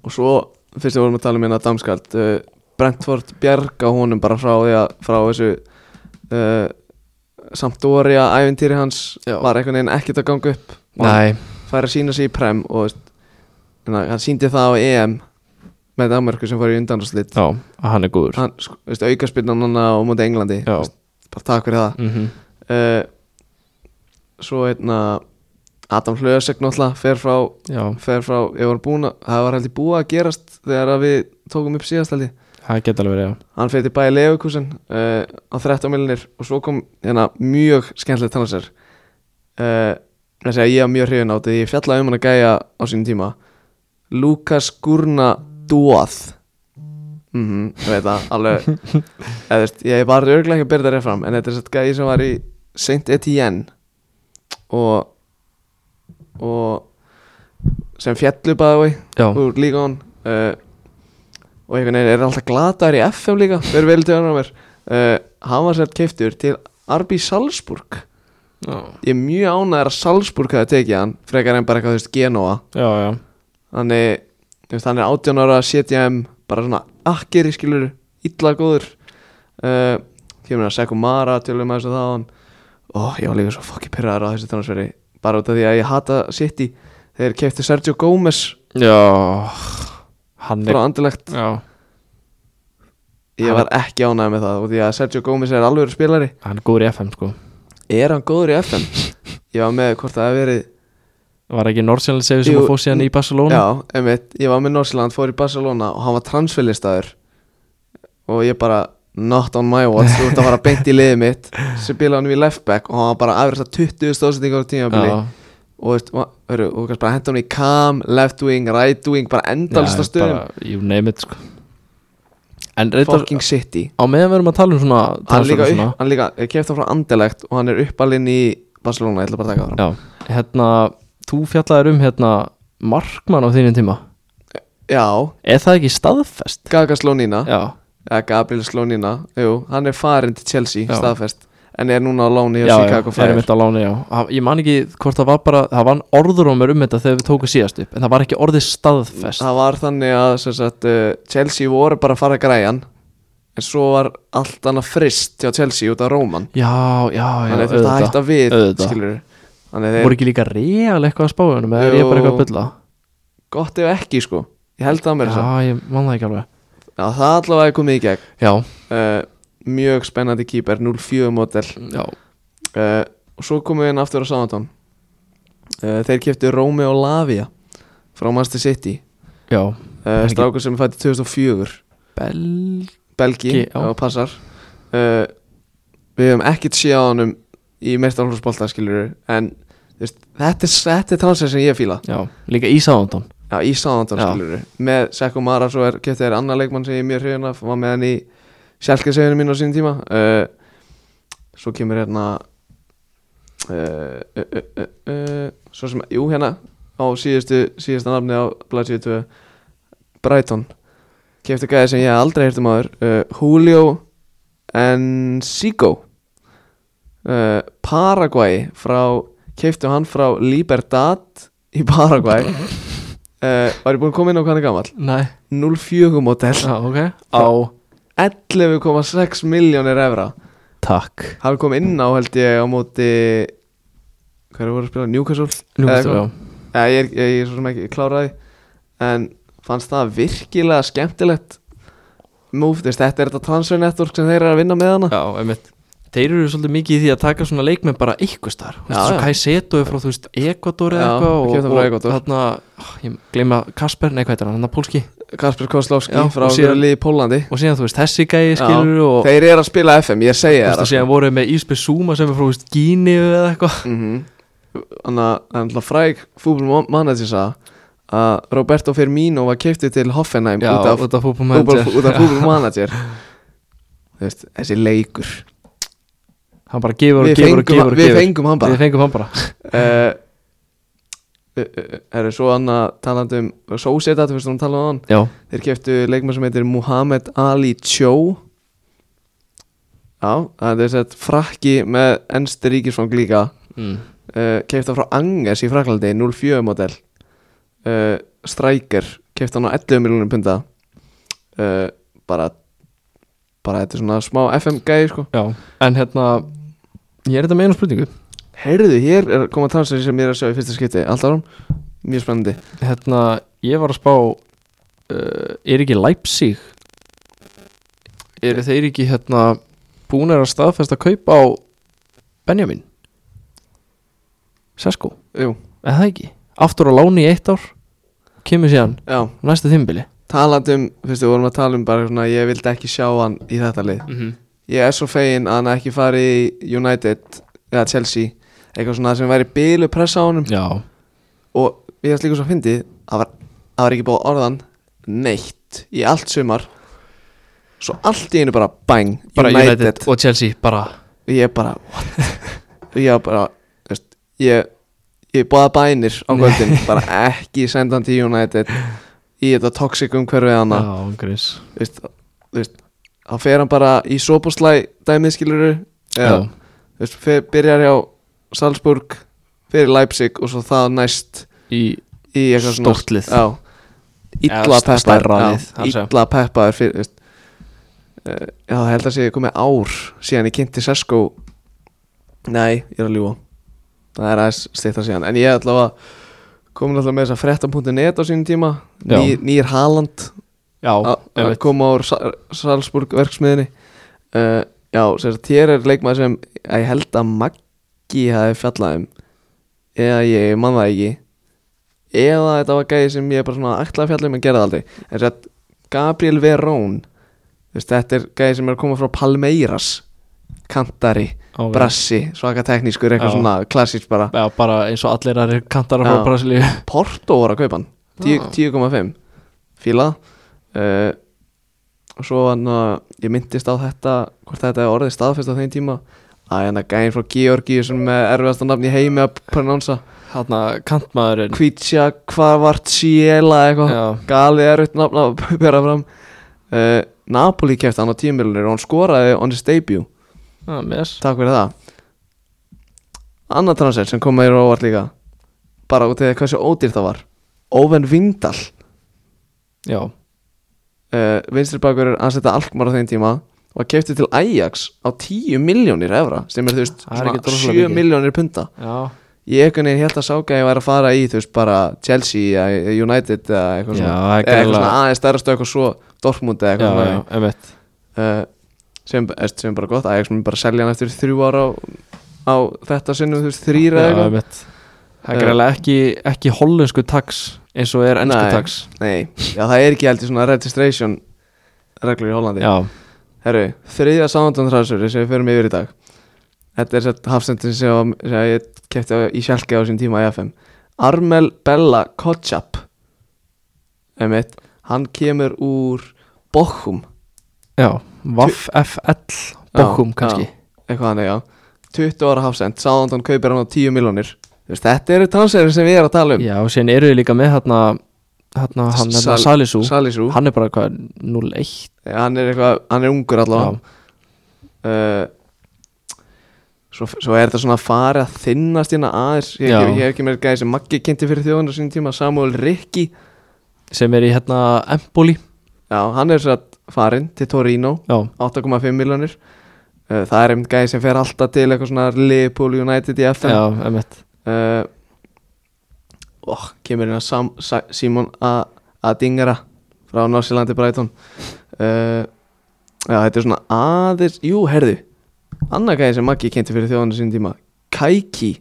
A: og svo fyrst við vorum að tala um hérna damskald uh, Brentford bjarga honum bara frá því að frá þessu uh, Sampdoria ævintýri hans
B: Já.
A: var einhvern veginn ekkert að ganga upp og hann
B: Nei,
A: fær að sína sig í prem og veist, hérna, hann síndi það á EM með Danmarku sem fór í undanraslit
B: já, að hann er góður
A: hann sk- veist, aukaspinnan hann á móti Englandi
B: Já.
A: veist, bara takk fyrir það
B: mm
A: uh, svo hérna Adam Hlöðsegn náttúrulega fer frá,
B: Já,
A: fer frá ég var búin að, það var heldur búið að gerast þegar að við tókum upp síðast heldur
B: það geta alveg verið, já
A: hann fyrir til bæði Leifukúsin uh, á 13 millinir og svo kom hérna mjög skemmtilegt hann að sér uh, þessi að ég var mjög hrifin á því ég fjallaði um hann að gæja á sínum tíma Lukas Gurna Dóð mhm, ég veit það, alveg eða, veist, ég var örglega ekki að byrja það rétt fram en þetta er satt gæði sem var í Saint Etienne og og sem fjallu bæði
B: Já,
A: úr líka hann uh, og einhvern veginn er alltaf glataður í FM líka verður vel til hann á mér uh, hann var sett keiftur til Arby Salzburg
B: já,
A: ég er mjög ánæður að Salzburg hafi tekið hann frekar en bara eitthvað þú veist Genoa
B: já, já.
A: þannig þú veist hann er 18 ára CTM bara svona akkeri skilur illa góður uh, kemur að Seku Mara til um þess að það hann og ég var líka svo fokki pyrraður á þessu þannig bara út af því að ég hata City þeir keiftu Sergio Gómez
B: já Hann er
A: frá Andilegt
B: Já,
A: Ég var ekki ánægð með það og því að Sergio Gómez er alveg spilari
B: hann er góður í FM sko
A: Er hann góður í FM? Ég var með hvort það hefði verið
B: Var ekki Nordsjælinn sefið sem
A: Jú,
B: að fóð síðan í Barcelona?
A: Já, einmitt, ég var með Norsland, fór í Barcelona og hann var transferlistaður og ég bara, not on my watch þú ert að fara beint í liðið mitt sem bila hann við left back og hann var bara aðverðast að 20 stóðsendingar á tímabili
B: Já,
A: og veist, og- hörru, og kannski bara henda hann í cam, left wing, right wing bara endalista
B: já,
A: stöðum,
B: bara, You name it sko En reyndar,
A: fucking city
B: á meðan við erum að tala um svona
A: Hann
B: tala
A: líka,
B: um
A: upp, hann líka kefti frá andelegt og hann er uppalinn í Barcelona, ég ætla bara að taka það fram
B: Já, hérna, þú fjallaðir um hérna markmann á þínum tíma
A: Já,
B: Er það ekki staðfest?
A: Gaga Slónína
B: Já,
A: eða Gabriel Slónína, jú, hann er farin til Chelsea,
B: Já.
A: staðfest en er núna á láni hjá
B: já,
A: Chicago
B: já,
A: Fire
B: einmitt á láni, já Ha- Ég man ekki hvort það var bara Það var orður á mér um þetta þegar við tókum síðast upp En það var ekki orðið staðfest
A: það var þannig að sem sagt, uh, Chelsea voru bara að fara að græjan en svo var allt annað frist hjá Chelsea út af Róman
B: Já, já, já,
A: þannig að þú ert að hætta við
B: auðvitað.
A: skilurðu. þannig að þeir
B: Voru ekki líka real eitthvað að spáu hennum Eða er ég bara eitthvað að bylla
A: gott ef ekki sko ég held það mér þess að
B: Já, ég man það ekki alveg
A: Já, það allavega er komið í gegn
B: Já,
A: uh, mjög spennandi kýper, 0-4 model
B: já,
A: uh, og svo komum við inn aftur á Samantón uh, þeir keftu Rómi og Lavia frá Master City
B: já
A: uh,
B: Belgi.
A: strákur sem er fætt í 2004
B: Bel...
A: Belgi
B: Belgi, já.
A: og passar uh, við höfum ekkert séð á honum í meistarhómsbólta skilur en þú veist, þetta er, þetta er transfer sem ég fíla
B: Já, líka í Sáðantón
A: já, í Sáðandan
B: Já.
A: skilur með Sekko Mara svo er getið er annar leikmann sem ég er mjög hrifin af var með hann í sjálfkesseginu mín á sínum tíma uh, svo kemur hérna uh, uh, uh, uh, uh, svo sem, jú hérna á síðustu, síðustu nafni á Blatsíu 2 Brighton kefti gæði sem ég hef aldrei hirtum áður uh, Julio Encigo uh, Paraguay frá, keiftu hann frá Libertad í Paraguay uh, var ég búinn að koma inn á hvað hann er gammal
B: Nei,
A: 04 model
B: já, ok Á
A: 11,6 miljónir evra
B: Takk
A: hann kom inn á held ég á móti hvað er það voru að spila, Newcastle
B: Nú
A: Eða
B: veistu,
A: eitthvað.
B: já
A: Já, ég, er- ég, ég er svo sem ekki kláraði En fannst það virkilega skemmtilegt Move, þess, þetta er þetta transfer network sem þeir eru að vinna með hana
B: Já, einmitt Þeir eru svolítið mikið í því að taka svona leikmenn bara ykkur starf Þú
A: Já,
B: veist, svo
A: já.
B: Kaiseto er frá, þú veist, Ekvator eða
A: Já,
B: eitthvað og-
A: keyptan frá
B: og
A: Ekvador.
B: Þarna, ah, ég gleyma Kasper, nei hvað er hann, hann er pólski
A: Kasper Kozlowski
B: Já,
A: frá
B: og síðan-
A: Gurli í Pólandi
B: Og síðan, þú veist, þessi gæi skilur
A: Já,
B: og
A: Þeir eru að spila FM, ég segi
B: Þú
A: þér
B: veist,
A: það sko.
B: og síðan voru þeir með Ísbjörn Súma sem er frá, þú veist, Gíni eða eitthvað
A: Mhm. Þannig að það er náttúrulega fræg fútbolmanager sagði að Roberto Firmino var keiftið til Hoffenheim
B: Já,
A: út af,
B: út af fútbolmanager
A: út af fútbolmanager Þú veist, þessi leikur
B: Hann bara gefur og
A: Við
B: gefur og
A: fengum-
B: gefur og
A: Við
B: gefur
A: fengum hann bara
B: Við fengum hann bara
A: uh, Eh, er svo annað talandi um Sóseta, þú veist hún talaði á hann
B: Já,
A: þeir keftu leikmann sem heitir Muhammad Ali Cho já, það er sett frakki með ennsti ríkisfang líka
B: mm.
A: uh, keifta frá Angers í Fraklandi 04 model uh, Striker keifta hann á 11 miljonum punda uh, bara bara þetta er svona smá FM gæði sko
B: Já, en hérna Ég er þetta með einu spurningu
A: heyrðu hér er að koma transfer sem ég er að sjá í fyrsta skipti allt árum, mjög spennandi
B: Hérna, ég var að spá uh, Er ekki Leipzig Eru þeir ekki hérna Búnir að staðfesta kaup á Benjamin Sesko,
A: Jú,
B: eða það ekki Aftur á láni í eitt ár Kemur síðan,
A: já,
B: næsta þimbili
A: talandi um fyrstu, við vorum að tala um bara svona ég vildi ekki sjá hann í þetta lið
B: mm -hmm.
A: ég er svo fegin að hann ekki fari í United eða Chelsea eitthvað svona sem væri bílu pressa á honum
B: Já,
A: og ég veist líka svo að fyndi að var, að var ekki búið að orðan neitt í allt sumar svo allt í einu bara bang
B: bara United, og Chelsea bara
A: og ég bara what og ég var bara þú veist, ég, ég báða bænir á kvöldin bara ekki senda hann til United í þetta toxic umhverfið hana
B: Já, grís
A: þú veist, þú veist, þá fer hann bara í soposlæ dæmið skiluru eða
B: Já,
A: þú veist, fer, byrjar hjá Salzburg fyrir Leipzig og svo það næst
B: í
A: í eitthvað svona
B: stórtlið
A: já, illa
B: Eða st- stærra
A: peppaður
B: lið,
A: já,
B: það sé.
A: illa peppaður fyrir þú veist, uh, já, það held að sé komið ár síðan ég kynnti Sesko nei, ég er að ljúa það er aðeins stýttar síðan en ég er allavega komin alltaf með þess að frettan.net á sínum tíma
B: Já.
A: Ný, nýr Haaland
B: Já,
A: að- að
B: einmitt.
A: koma úr Sa- Salzburg verksmiðinni uh, já, sem sagt, hér er leikmaður sem að ég held að Maggi hafi fjallað um eða ég man það ekki eða þetta var gæði sem ég bara svona ætlaði að fjalla um en gera það aldrei en sem sagt, Gabriel Verón þú veist, þetta er gæði sem er að koma frá Palmeiras kantari,
B: Ok.
A: brassi svaka teknískur, eitthvað
B: Já.
A: svona klassíkt bara
B: Já, bara eins og allir aðrir kantar
A: Já.
B: frá Brasilíu
A: Porto var að kaupa hann
B: Já.
A: 10 10,5 fíla uh, og svo hann að ég myndist á þetta hvort þetta er orðið staðfest á þeim tíma að hann að gæðin frá Georgi sem er erfiðasta nafn í heimi að pronánsa
B: Hanna kantmaðurinn
A: Kvitsja Kvarvartsiela eitthvað
B: Já,
A: galið erfitt nafn að bera fram uh, Napoli kefti hann á 10 miljonir og hann skoraði on his debut
B: já, mes
A: takk fyrir það annar transfer sem kom meira óvart líka bara út af því hversu ódýrt það var Óven Vindal
B: Já,
A: uh, vinstri bakur er ansetta Alkmaar á þeim tíma og að kefti til Ajax á 10 miljónir evra sem er þú veist
B: Það er ekkert
A: 7
B: rosalega mikið.
A: miljónir punta
B: já,
A: ég einhvern veginn held að sáka að ég væri að fara í þú veist bara Chelsea eða United eða eitthvað
B: Já,
A: svona
B: það er
A: eða eitthvað
B: greinilega-
A: svona aðeins stærra stökk og svo Dortmund eða
B: já,
A: eitthvað
B: já, emitt
A: svona uh, sem, eh, sem er bara gott Ajax mun bara selja hann eftir þrjú ára á, á þetta sinnum þú veist þrýra
B: Já,
A: eitthvað
B: emitt Það er greiðlega ekki, ekki hollensku tax eins og er ennsku
A: Nei.
B: tax
A: nei já það er ekki heldur svona registration reglur í Hollandi
B: Já,
A: Herru, þriðja sándóntrasur sem við förum yfir í dag Þetta er sett hafsendin sem, sem ég kefti á, í sjálki á sín tíma í FM Armel Bella Kotchap Emmett, hann kemur úr Bochum,
B: já, Vaff FL Bokum
A: Já,
B: kannski
A: eitthvað hann já 20 ára hafsend, sándón kaupir hann á 10 miljónir Þetta eru transferin sem við erum að tala um
B: Já, og síðan eru þið líka með hérna hérna, hann, hérna
A: Sal-
B: Salisú
A: Salisú,
B: Hann er bara hvað, 0-1
A: Eh, hann er eitthvað, hann er ungur allavega
B: Já,
A: uh, svo, svo er þetta svona að fara að þinnast hérna aðeins ég,
B: Já.
A: ég, ég hef ekki meira gæði sem Maggi kynnti fyrir þjóðan á sínum tíma, Samuel Rikki
B: sem er í hérna Empoli
A: já, hann er svo að farin til Torino
B: Já,
A: 8,5 miljonir uh, það er einmitt gæði sem fer alltaf til eitthvað svona Liverpool United í
B: já,
A: FM
B: emitt
A: uh, og kemur hérna Sam, Sa, Simon A, Adingera frá Norsilandi Brighton uh, já, þetta er svona aðeins, jú, herðu annar gæði sem Maggi kynnti fyrir þjóðan sín tíma Kaiki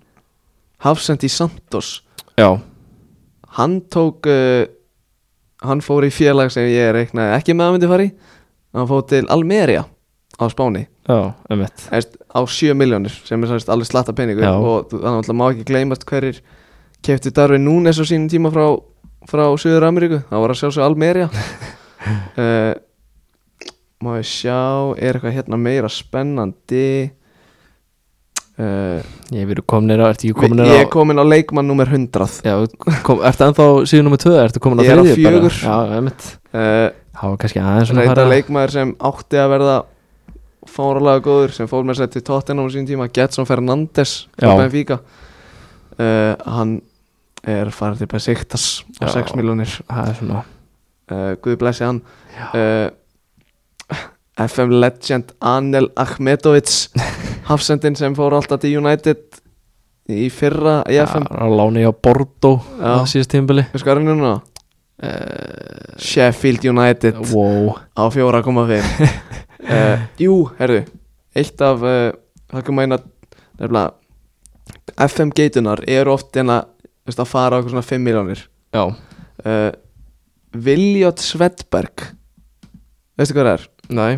A: Hafsendi Santos
B: Já,
A: hann tók uh, hann fór í félag sem ég reiknaði ekki með að myndi fari hann fór til Almeria á Spáni
B: já, emitt
A: Erst, á 7 miljónir sem er sannst alveg slatta peningur
B: Já.
A: og þú- þannig að má ekki gleymast hverjir kefti Darvin Núnes á sínum tíma frá, frá Suður Ameríku það var að sjá svo Almeria uh, má ég sjá er eitthvað hérna meira spennandi uh,
B: Ég verið komin er á, ertu ekki komin er á
A: ég er komin á leikmann nummer 100
B: Já, kom, ertu ennþá síðan nummer 2, ertu komin á
A: Ég er á
B: þriðju bara?
A: fjögur.
B: Já, einmitt
A: uh,
B: Það var kannski aðeins svona
A: reynda
B: fara
A: leikmaður sem átti að verða fáralega góður sem fór með sér til Tottenham á sínum tíma Getson Fernandes frá
B: Já.
A: Benfica uh, hann er farin til Besiktas á
B: Já.
A: 6 miljonir
B: það er svona
A: uh, Guð blessi hann uh, FM legend Anel Akhmetovic hafsendin sem fór alltaf til United í fyrra í FM
B: Það er að lána ég á Bordeaux
A: Já.
B: á síðast tímbili
A: Við skoðum hérna núna
B: Eh,
A: Sheffield United
B: Wow
A: á 4,5 uh, Jú, herðu Eitt af uh, Það kom að eina Nefnilega FM geitunar eru oft en að þú veist, að fara á eitthvað svona 5 miljónir
B: Já,
A: uh, Viljot Svedberg Veistu hvað það er?
B: nei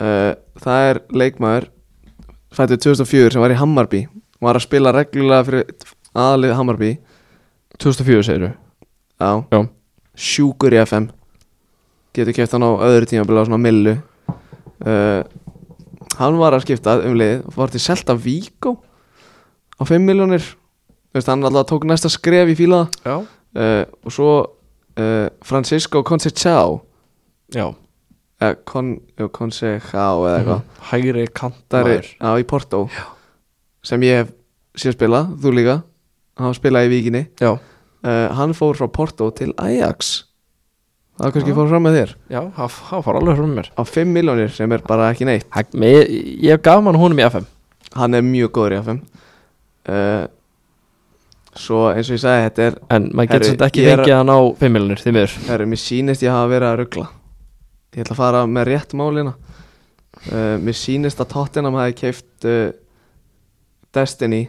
A: Uh, það er leikmaður fættið 2004 sem var í Hammarby var að spila reglulega fyrir aðlið Hammarby
B: 2004 segir du
A: Já,
B: Já.
A: Sjúkur í FM Getur keft hann á öðru tíma Bila á svona millu uh, Hann var að skipta um liðið og Var til Selta Víkó Á 5 miljónir Veist, Hann alltaf tók næsta skref í fíla
B: Já
A: uh, Og svo uh, Francisco Conceição
B: Já
A: eh, Con, jú, Conceição eða
B: Mhm.
A: eitthvað
B: Hægri
A: Það er
B: kantar
A: á, í Porto Já. Sem ég hef séð spila Þú líka Hann spilaði í Víkinni
B: Já
A: uh, Hann fór frá Porto til Ajax Það er kannski
B: Já.
A: fór fram með þér
B: Já, það það fara alveg frá mér
A: á 5 miljónir sem er bara ekki neitt
B: Hæ, ég, ég gaf mann honum í FM
A: hann er mjög góður í FM uh, svo eins og ég sagði þetta er,
B: En maður getur
A: Herri,
B: svolítið ekki
A: ég er-
B: fengið hann á 5 miljonir, því miður
A: það mér sýnist ég hafa verið að ruggla ég ætla að fara með rétt málina uh, mér sýnist að Tottenham hafi keift uh, Destiny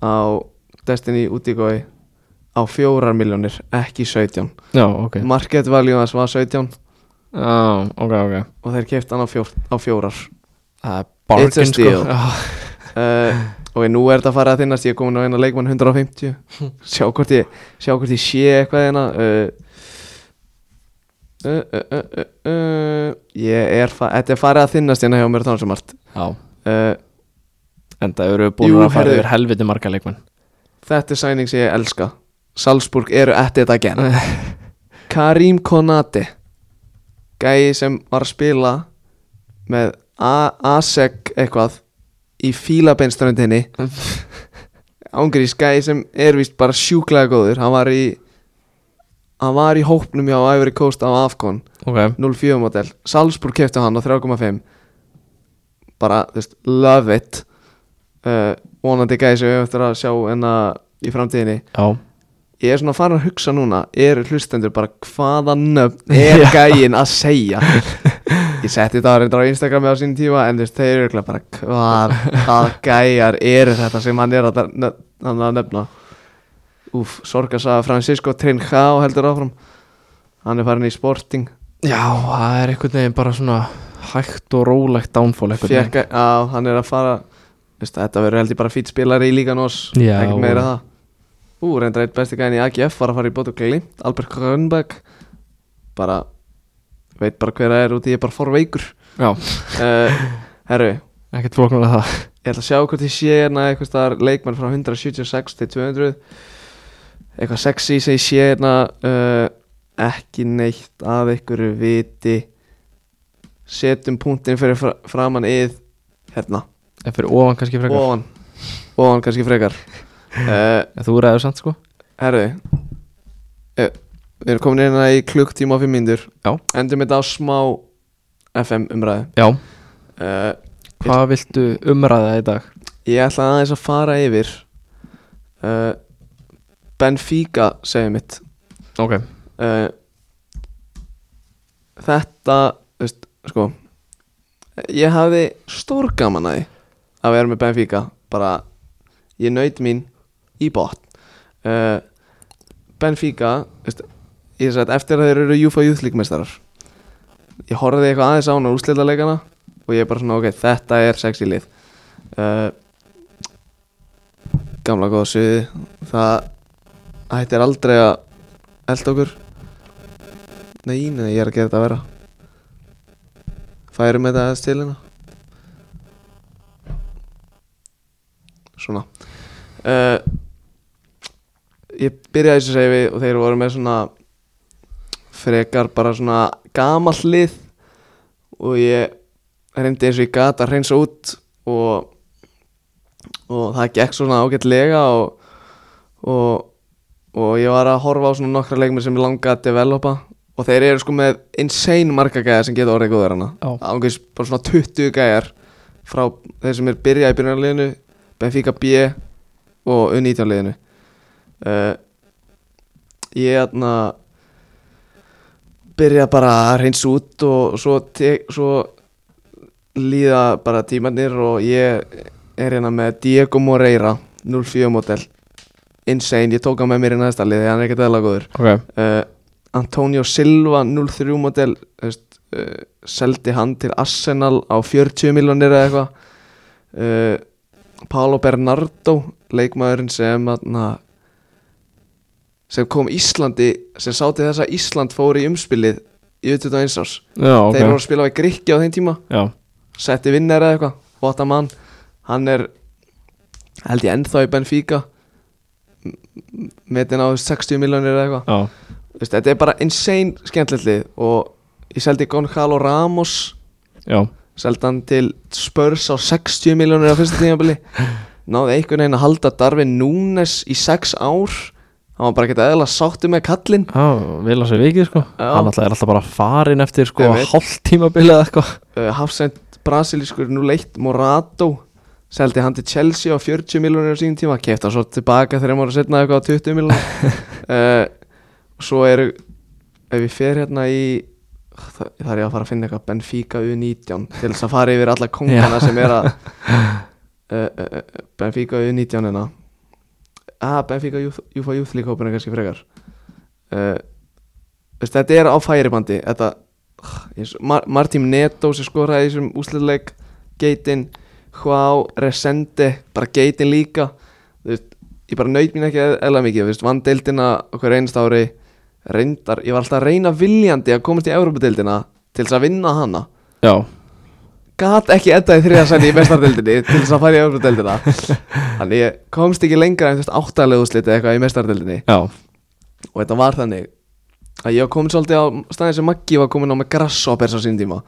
A: á Destiny út í gói á 4 miljónir, ekki 17
B: Já, ok
A: market value hans var 17
B: Já, ok, ok
A: og þeir keift hann á, fjór, á fjórar
B: Það er bargain sko
A: steal.
B: Já,
A: uh, og nú er þetta að fara að þinnast ég er komin á eina leikmann 150 sjá hvort ég, sjá hvort ég sé eitthvað hérna uh, uh, uh, uh, uh, uh, ég er fa- þetta er farið að þinnast hérna hjá mér þannig sem allt
B: Já.
A: uh,
B: En það eru búin
A: Jú,
B: að fara
A: herri.
B: yfir helviti marga leikmenn
A: þetta er sæning sem ég elska Salzburg eru at it again Karim Konate gæi sem var að spila með A- ASEC eitthvað í fílabeinströndinni ángrís gæi sem er vist bara sjúklega góður hann var í hann var í hópnum hjá Ivory Coast á Afcon
B: Ok
A: 04 model, Salzburg kefti hann á 3,5 bara, þú veist, love it uh, vonandi gæði sem við höfum eftir að sjá enna í framtíðinni
B: Já
A: ég er svona farin að hugsa núna er hlustendur bara hvaða nöfn er
B: Já.
A: gæin að segja ég setti þetta að reynda á Instagrami á sín tíma en þú veist, þeir eru örugglega bara hvað, hvað gæjar eru þetta sem hann er að, nöf, hann að nefna úf, sorgasaga Francisco Trinjá heldur áfram hann er farin í sporting
B: Já, það er einhvern veginn bara svona hægt og rólegt downfall einhvern veginn
A: Fjekka, á, hann er að fara veist, Þetta verður held ég bara fýtt spilari í líkan oss
B: Já,
A: Ekkert meira
B: og-
A: það Ú, reyndar eitt besti gæðin í AGF var að fara í bótu glimt Albert Grönberg Bara Veit bara hver það er út í ég er bara forveikur
B: Já,
A: uh, Herru,
B: ekkert flóknar að það
A: ég ætla að sjá hvort ég sé hérna eitthvað staðar leikmann frá 176 til 200 eitthvað sexy sem ég sé hérna uh, ekki neitt af einhverju viti setjum punktin fyrir fra framann yð hérna,
B: En fyrir ofan kannski frekar
A: ofan ofan kannski frekar uh,
B: En þú ræður samt sko
A: herðu uh, við erum komin hérna í klukktíma og fimm mínútur
B: Já.
A: endum þetta á smá FM umræðu
B: Já,
A: uh,
B: hvað viltu umræða í dag?
A: Ég ætla aðeins að fara yfir uh, Benfica segið mitt
B: Ok
A: uh, Þetta þú veist, sko Ég hafði stórgaman að því að vera með Benfica bara ég naut mín í botn uh, Benfica þú veist, ég sagði eftir að þeir eru Júfa Júþlíkmestarar ég horfði eitthvað aðeins á hann á úrslitaðleikana og ég er bara svona ok, þetta er sexy lið uh, gamla góða suði það hættir aldrei að elda okkur nei, nei, ég er að gera þetta að vera færum þetta aðeins til hérna svona uh, ég byrjaði þessu segi við og þeir voru með svona frekar bara svona gamall lið og ég reyndi eins og ég gat að hreinsa út og, og það gekk svona ágætlega og og, og ég var að horfa á svona nokkra leikmenn sem ég langaði að developa og þeir eru sko með insane marga gæjar sem geta orðið hérna. góður hana
B: Já.
A: ángjörs bara svona 20 gæjar frá þeir sem er byrjað í byrjunarliðinu Benfica B og U19-liðinu uh, ég hérna aðna byrja bara að reyns út og svo, te- svo líða bara tímanir og ég er hérna með Diego Moreira 04 model insane, ég tók hann með mér í næsta liði hann er ekkert eðla góður
B: Ok,
A: uh, Antonio Silva 03 model uh, seldi hann til Arsenal á 40 miljonir eða eitthvað uh, Paolo Bernardo leikmaðurinn sem na, sem kom Íslandi sem sáti þess að Ísland fór í umspilið í 21 árs
B: já, ok
A: þeir voru að spila á í Grikki á þeim tíma
B: Já,
A: setti vinnar eða eitthvað Vota mann, hann er held ég ennþá í Benfica M- m- metinn á 60 miljonir eða eitthvað
B: já,
A: Þú veist, þetta er bara insane skemmtilegt lið og ég seldi Gonzalo Ramos
B: já
A: seldi hann til Spurs á 60 miljónir á fyrsta tímabili náði einhvern veginn að halda Darvin Núnes í 6 ár hann var bara ekki eðla sáttu með kallinn
B: Já, vil að sér vikið sko
A: Já.
B: Hann alltaf er alltaf bara farin eftir sko
A: Ég veit.
B: Hálft tímabilið eða eitthvað
A: uh, hafsend brasilískur nú leitt Morato seldi hann til Chelsea á 40 miljónir á sínum tíma kefti hann svo tilbaka þegar maður setna eitthvað á 20 miljónir uh, svo eru ef ég fer hérna í það, það er ég að fara að finna eitthvað Benfica U19 til þess að fara yfir alla kongana sem er að uh, uh, uh, Benfica U19 hérna ah, Benfica Youth- UFA Youth League hópina kannski frekar uh, veist, þetta er á færibandi þetta eins og Mar Martín Neto sem skoraði í þessum úsliðleik geitin, Hvá, Resende bara geitin líka Þú veist, ég bara naut mín ekki eða mikið þú veist, vann deildina okkur einst ári reyndar, ég var alltaf að reyna viljandi að komast í Európa-deildina til þess að vinna hana
B: Já,
A: gat ekki enda í þriðarsæni í mestardeldinni til þess að fara í Európa-deildina þannig ég komst ekki lengra en þú veist áttalegu úsliti eitthvað í mestardeldinni
B: já,
A: og þetta var þannig að ég var komin svolítið á staðin sem Maggi var komin á með grasshoppers á sín tíma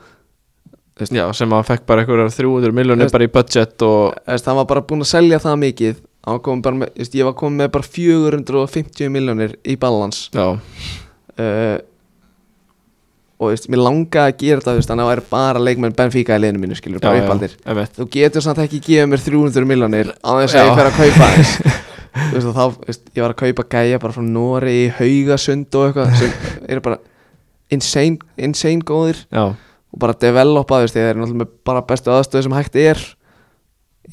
B: já Sem að hann fekk bara einhverjar 300 miljonir
A: Veist-
B: bara í budget og
A: Þú veist, hann var bara búinn að selja það mikið Hann var kominn bara með, þú veist, ég var komin með bara 450 miljónir í balans
B: Já,
A: uh, og þú veist, mér langaði að gera þetta þú veist, þannig að það væri bara leikmenn Benfica í liðinu mínu skilur,
B: já,
A: bara
B: já,
A: uppaldir
B: einmitt.
A: þú getur samt ekki að gefa mér 300 miljónir á þess að
B: Já.
A: ég fer að kaupa þess þú veist, og þá, þú veist, ég var að kaupa gæja bara frá Nóri í Haugasund og eitthvað sem eru bara insane, insane góðir
B: Já,
A: og bara developa, þú veist, þeir eru náttúrulega með bara bestu aðstöðu sem hægt er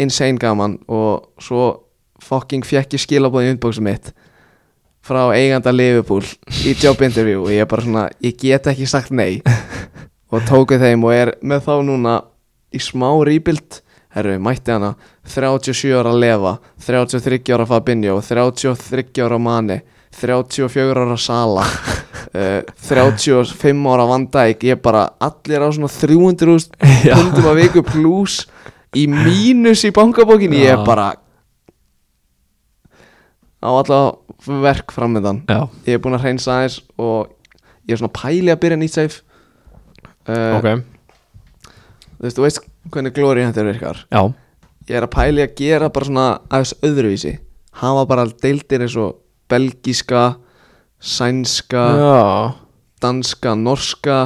A: insane gaman og svo fucking fekk ég skilabóð í inboxum mitt frá eiganda Liverpool í job interview og ég er bara svona, ég get ekki sagt nei og tóku þeim og er með þá núna í smá rebuild herru, mætti hana 37 ára Leva, 33 ára Fabinho 33 ára Mane 34 ára Sala uh, 35 ára Van Dijk ég bara, allir á svona 300
B: Já.
A: pundum að viku pluss í mínus í bankabókinni ég
B: Já.
A: er bara á allavega verk framöndan
B: já,
A: ég er búinn að hreinsa aðeins og ég er svona pæli að byrja nýtt safe uh,
B: ok
A: þú veist, þú veist hvernig glóri hendur virkar
B: Já,
A: ég er að pæli að gera bara svona aðeins öðruvísi hafa bara deildir eins og belgíska sænska
B: já,
A: danska, norska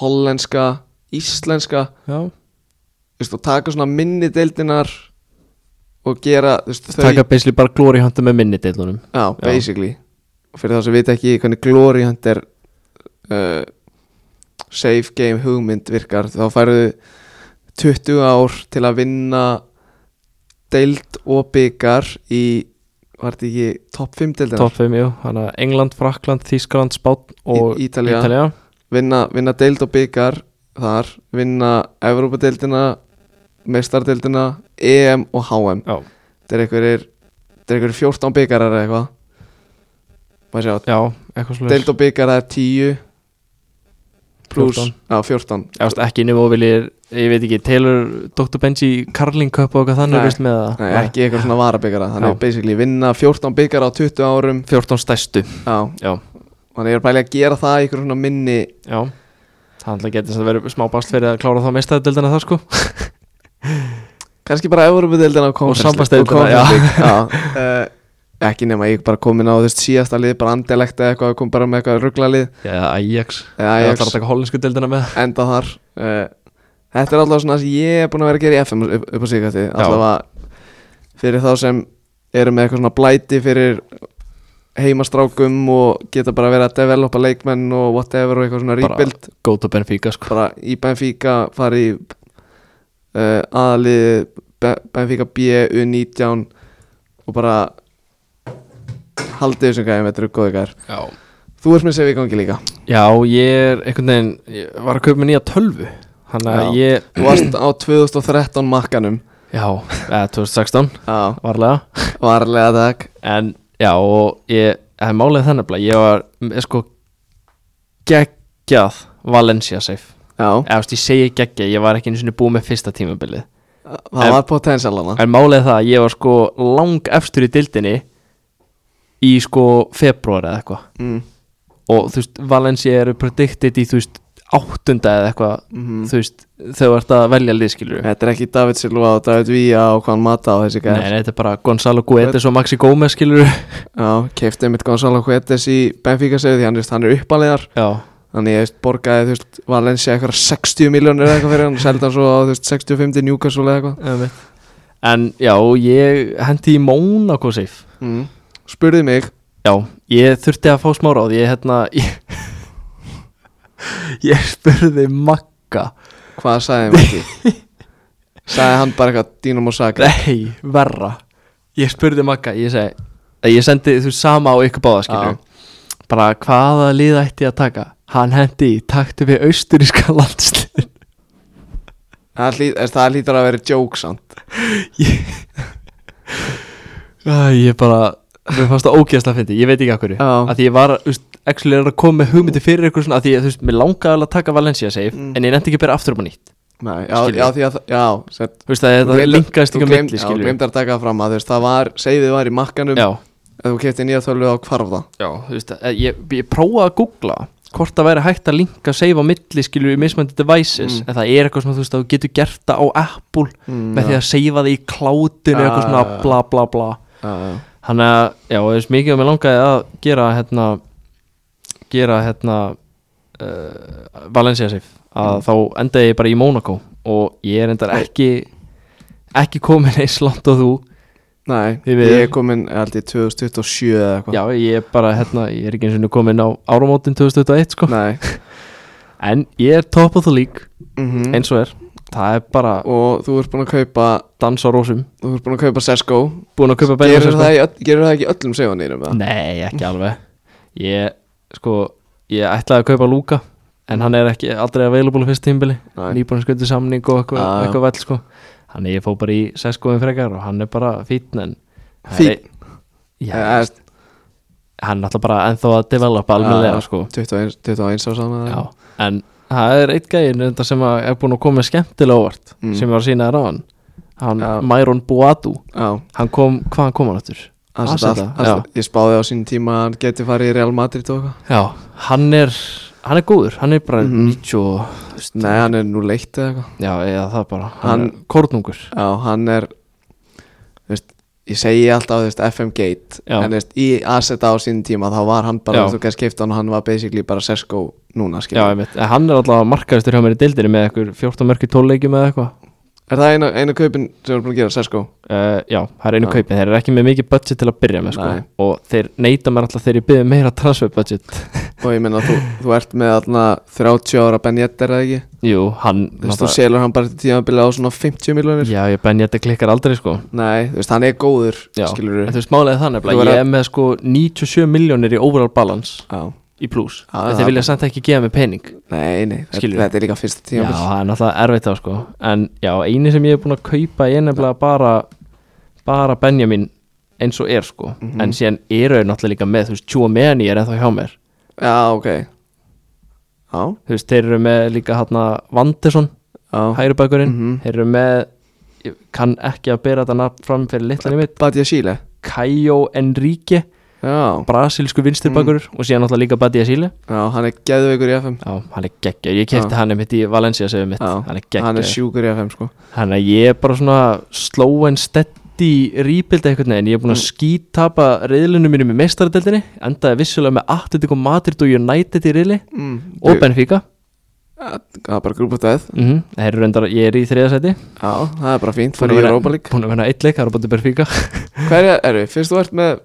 A: hollenska íslenska
B: já.
A: þú veist, og taka svona minni deildinar og gera þú veist, þau
B: Taka basically bara glory hunter með minni deilunum
A: já, basically og fyrir þá sem vita ekki hvernig Glory Hunt er uh, save game hugmynd virkar þá færðu 20 ár til að vinna deild og byggar í var þetta ekki top 5 deildina
B: Top 5, jú, hann að England, Frakland, Þískaland, Spán og
A: Í- Ítalía.
B: Ítalía.
A: vinna, vinna deild og byggar þar, vinna Evrópadeildina mestardeildina EM og HM
B: Já,
A: þetta er einhverjir þetta er einhverjir 14 byggarar eða eitthvað maður sjá,
B: já, eitthvað slúður
A: Deild og byggar það er 10 pluss,
B: 14.
A: já 14
B: Já, veist, ekki nema og viljir, ég veit ekki, Taylor, Dr. Benji, Carling Cup og eitthvað þannig,
A: Nei.
B: veist með það
A: Nei, ekki eitthvað svona varabyggara þannig
B: Já.
A: er basically vinna 14 byggar á 20 árum
B: 14 stærstu
A: já,
B: Já,
A: þannig ég er bæli að gera það í einhverjum svona minni
B: já Það handla getið sem að vera smá bast fyrir að klára þá mestaðdeldina það sko
A: kannski bara Európa-deildina og
B: sambandsdeildina,
A: já, já. Uh, ekki nema ég bara komin á þú veist síðasta lið bara andelegt eða eitthvað kom bara með eitthvað rugglalið
B: eða Ajax
A: eða
B: Það
A: Ajax
B: ætlar að taka hollensku deildina með
A: enda þar uh, Þetta er alltaf svona það sem ég er búin að vera að gera í FM upp, upp á síkvætti alltaf að fyrir þá sem eru með eitthvað svona blæti fyrir heimastrákum og geta bara verið að developa leikmenn og whatever og eitthvað svona
B: Bara-
A: rebuild
B: Go to Benfica sko
A: bara í Benfica fara í uh, aðalið Benfica B U19 og bara haldið þessum gæðum, þetta eru góði gæðar
B: Já,
A: Þú ert með sér í gangi líka
B: ég er einhvern veginn ég var að kaupa mér nýja tölvu Þannig að
A: Já.
B: ég,
A: Þú varst á 2013 makkanum
B: já, eða 2016
A: Já,
B: varlega
A: varlega takk
B: En já, og ég, það er málið þannig að ég var, ég sko geggjað Valencia safe
A: Já,
B: Eða, þú veist, ég segi geggja, ég var ekki einu sinni búið með fyrsta tímabilið
A: það
B: En-
A: var potential hana
B: En málið er það að ég var sko lang efstur í dildinni í sko februar eða eitthvað
A: mm,
B: og þú veist, Valencia eru predicted í þú veist, áttunda eða eitthvað
A: mm.
B: þú veist, þau ert að velja liðskilur
A: Þetta er ekki David Silva og David Villa og hvaðan mata á þessi
B: Nei,
A: gæðar
B: nei, þetta er bara Gonzalo Guedes og Maxi Gómez skilur
A: Já, keftið mitt Gonzalo Huetes í Benfica segði því hann, þú veist, hann er uppalegar
B: Já,
A: Þannig ég þú veist, borgaði þú veist Valencia eitthvað 60 miljónir eða eitthvað fyrir hann Seldi hann svo á þú veist 65 til Newcastle eða eitthvað
B: einmitt En já, ég hendi í Mónako safe
A: mm. Spurði mig
B: Já, ég þurfti að fá smá ráð Ég hérna Ég, ég spurði Magga
A: hvað sagði hann ekki Sagði hann bara eitthvað Dínamo Sakri
B: Nei, verra Ég spurði Magga, ég segi að Ég sendi þú sama á ykkur báða skilur Bara hvaða lið ætti ég að taka Hann hendi í taktu við austuríska landslið
A: Það, hlý, er, það lítur að vera jóksamt
B: Æ, Ég bara Mér fannst það ógeðslega fyndi, ég veit ekki akkur
A: Já.
B: Að því ég var, þú veist, actually er að koma með hugmyndi fyrir ykkur svona Að því, ég, þú veist, mér langaði alveg að taka Valencia safe
A: Mm.
B: En ég nefndi ekki að bera aftur um að nýtt
A: Nei, já,
B: Skilji.
A: já, því að, það- já, sett,
B: Þú veist, það
A: Þú
B: þetta
A: gleymdir-
B: linkaðist
A: þú
B: ekki á
A: gleym-
B: milli,
A: Já,
B: skilur
A: glemd að taka það fram að þú veist, það var, segðið var í makkanum
B: Já,
A: Ef þú kefti nýja tölvu á hvarf það
B: já, þú veist, eh, ég, ég prófaði að googla hvort það væri hægt að linka save á milli skilur í mismöndi devices
A: Mm.
B: en það er eitthvað svona, þú veist, að þú getur gert það á Apple
A: Mm,
B: með því að seifa það í klátinu eitthvað
A: Ah,
B: svona
A: já, já.
B: bla bla bla
A: Já, já,
B: þannig að, já, þú veist, mikið að mér langaði að gera hérna gera hérna uh, Valencia safe að þá endaði ég bara í Monaco og ég er endar
A: Mm. Nei.
B: ekki ekki komin eins langt og þú
A: Nei,
B: Því
A: ég
B: miður.
A: er komin aldrei 2027 eða eitthvað
B: Já, ég er bara, hérna, ég er ekki eins og komin á áramótin 2021, sko
A: Nei
B: En ég er top of the league,
A: mhm.
B: eins og er Það er bara
A: Og þú ert búin að kaupa
B: dans á rósum
A: Þú ert búin að kaupa Sesko
B: Búin að kaupa
A: Gerur
B: Benfica, sko.
A: það, í öll- gerirðu það ekki í öllum segunýrum eða?
B: Nei, ekki alveg Ég, sko, ég ætlaði að kaupa Luka En hann er ekki aldrei available fyrst tímbili
A: Nei.
B: Nýbúin sköldu samning og eitthvað
A: Já, já.
B: eitthva vel, sko Þannig ég fó bara í seskoðum frekar Og hann er bara fítn en það er
A: Fínn?
B: ein- Já,
A: Eða, þú veist,
B: hann er alltaf bara ennþá að developa almennilega,
A: já,
B: sko
A: 21 21 á saman
B: Já, en það er eitt gæðin þetta sem að er búin að koma með skemmtilega óvart
A: Mm.
B: sem ég var að sína þér á hann hann,
A: Já.
B: Myron Boadu,
A: Já,
B: hann kom, hvað hann kom hann aftur?
A: hann
B: Aseta,
A: sett allt Ég spáði á sínum tíma að hann geti farið í Real Madrid og eitthvað
B: Já, hann er hann er góður, hann er bara
A: Mhm.
B: 90 og, þú veist,
A: Nei, hann er nú leitt eða eitthvað
B: já, eða það bara, hann,
A: Hann-
B: er kórnungur
A: Já, hann er þú veist, Ég segi alltaf, þú veist, FM Gate
B: Já.
A: En þú veist, í Aseta á sínum tíma Þá var hann
B: Já.
A: bara, þú veist, þú gæst keipt hann Og hann var basically bara Sesko núna,
B: Já,
A: skilja
B: ég veit, en hann er alltaf markaðistur hjá mér í deildinni með ekkur 14 mörki 12 leikjum eða eitthvað
A: Er það einu, einu kaupin sem er búin að gera, Sesko?
B: Uh, já, það er einu
A: Já.
B: kaupin, þeir eru ekki með mikið budget til að byrja með sko
A: Nei.
B: og þeir neyta mér alltaf þegar ég byrja meira transfer budget
A: Og ég meina, þú, þú ert með allna 30 ára Ben Yedder, eða ekki?
B: Jú, hann
A: Þú veist, þú selur hann bara til tímabili á svona 50 miljonir
B: Já, ég benni að þetta klikkar aldrei sko
A: Nei, þú veist, hann er góður,
B: Já.
A: skilur
B: En þú veist, málega þannig
A: Þú
B: að
A: verður að-
B: ég er með sko 97 miljónir í overall balance
A: Já,
B: í pluss
A: Já,
B: En
A: það-
B: þeir vilja samt ekki gefa mig pening
A: nei, nei, þetta,
B: Skilurðu?
A: þetta er líka fyrsta
B: Já,
A: tímabili
B: það er náttúrulega erfitt þá sko En já, eini sem ég er búin að kaupa er nefnilega bara bara Benjamin eins og er sko
A: Mhm.
B: En síðan eru þau náttúrulega líka með þú veist, Tjúa meðan ég er ennþá hjá mér
A: Já, ok Já,
B: Þú veist, þeir eru með líka hérna Vandersson,
A: já
B: hægri bakurinn
A: Mhm.
B: Þeir eru með, ég kann ekki að bera þetta nafn fram fyrir litlan í mitt
A: Badia Síle
B: Kajo Enrique
A: Já,
B: brasilsku
A: Mhm.
B: vinstibækur og síðan náttúrulega líka Badia Síle
A: já, hann er geðveikur í FM
B: Já, hann er geggjör, ég kefti hann einmitt í Valencia sem mitt,
A: Já,
B: hann er
A: Hann er
B: geggjör
A: sjúkur í FM, sko
B: Þannig að ég er bara svona slow and steady í rýpildi einhvern veginn, ég er búin að
A: Mm.
B: skítapa reyðlunum mínum í meistaradeldinni, endaði vissulega með Atletico Madrid og United í reyðli
A: mm,
B: og Benfica
A: Það er bara grúputæð
B: mm það eru reyndar, ég er í þriðasæti
A: Já, það er bara fínt
B: Búin
A: Fyrir
B: að
A: í
B: vera-
A: Europa League
B: búin að vera eitt leik, það eru búin að Benfica
A: Hverja eru, fyrst þú ert með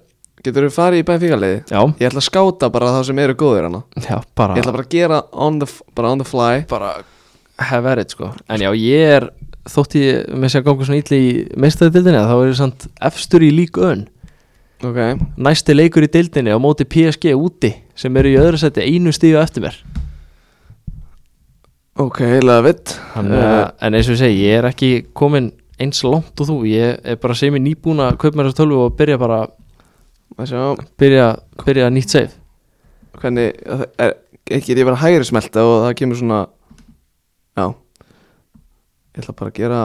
A: Getur þú farið í Benfica liði?
B: já,
A: Ég ætla að skáta bara þá sem eru góðir hana
B: já, bara
A: Ég ætla bara að gera on the, f- bara on the fly
B: bara have at it sko en já, ég er, þótt ég með sér gangu svona ítli í meistaradeldinni þá er ég samt efstur í lík ön
A: Ok,
B: næsti leikur í deildinni á móti PSG úti sem eru í öðru seti einu stíu eftir mér
A: ok, Eh, love it
B: Þannig að, Eh, en eins og ég segi, ég er ekki komin eins langt og þú, ég er bara sem ég nýbúin að kaupa mér þessu tölvu og byrja bara
A: Það sjá,
B: byrja, byrja nýtt save
A: hvernig er, Get ég bara hægri smelta og það kemur svona Já Ég ætla bara að gera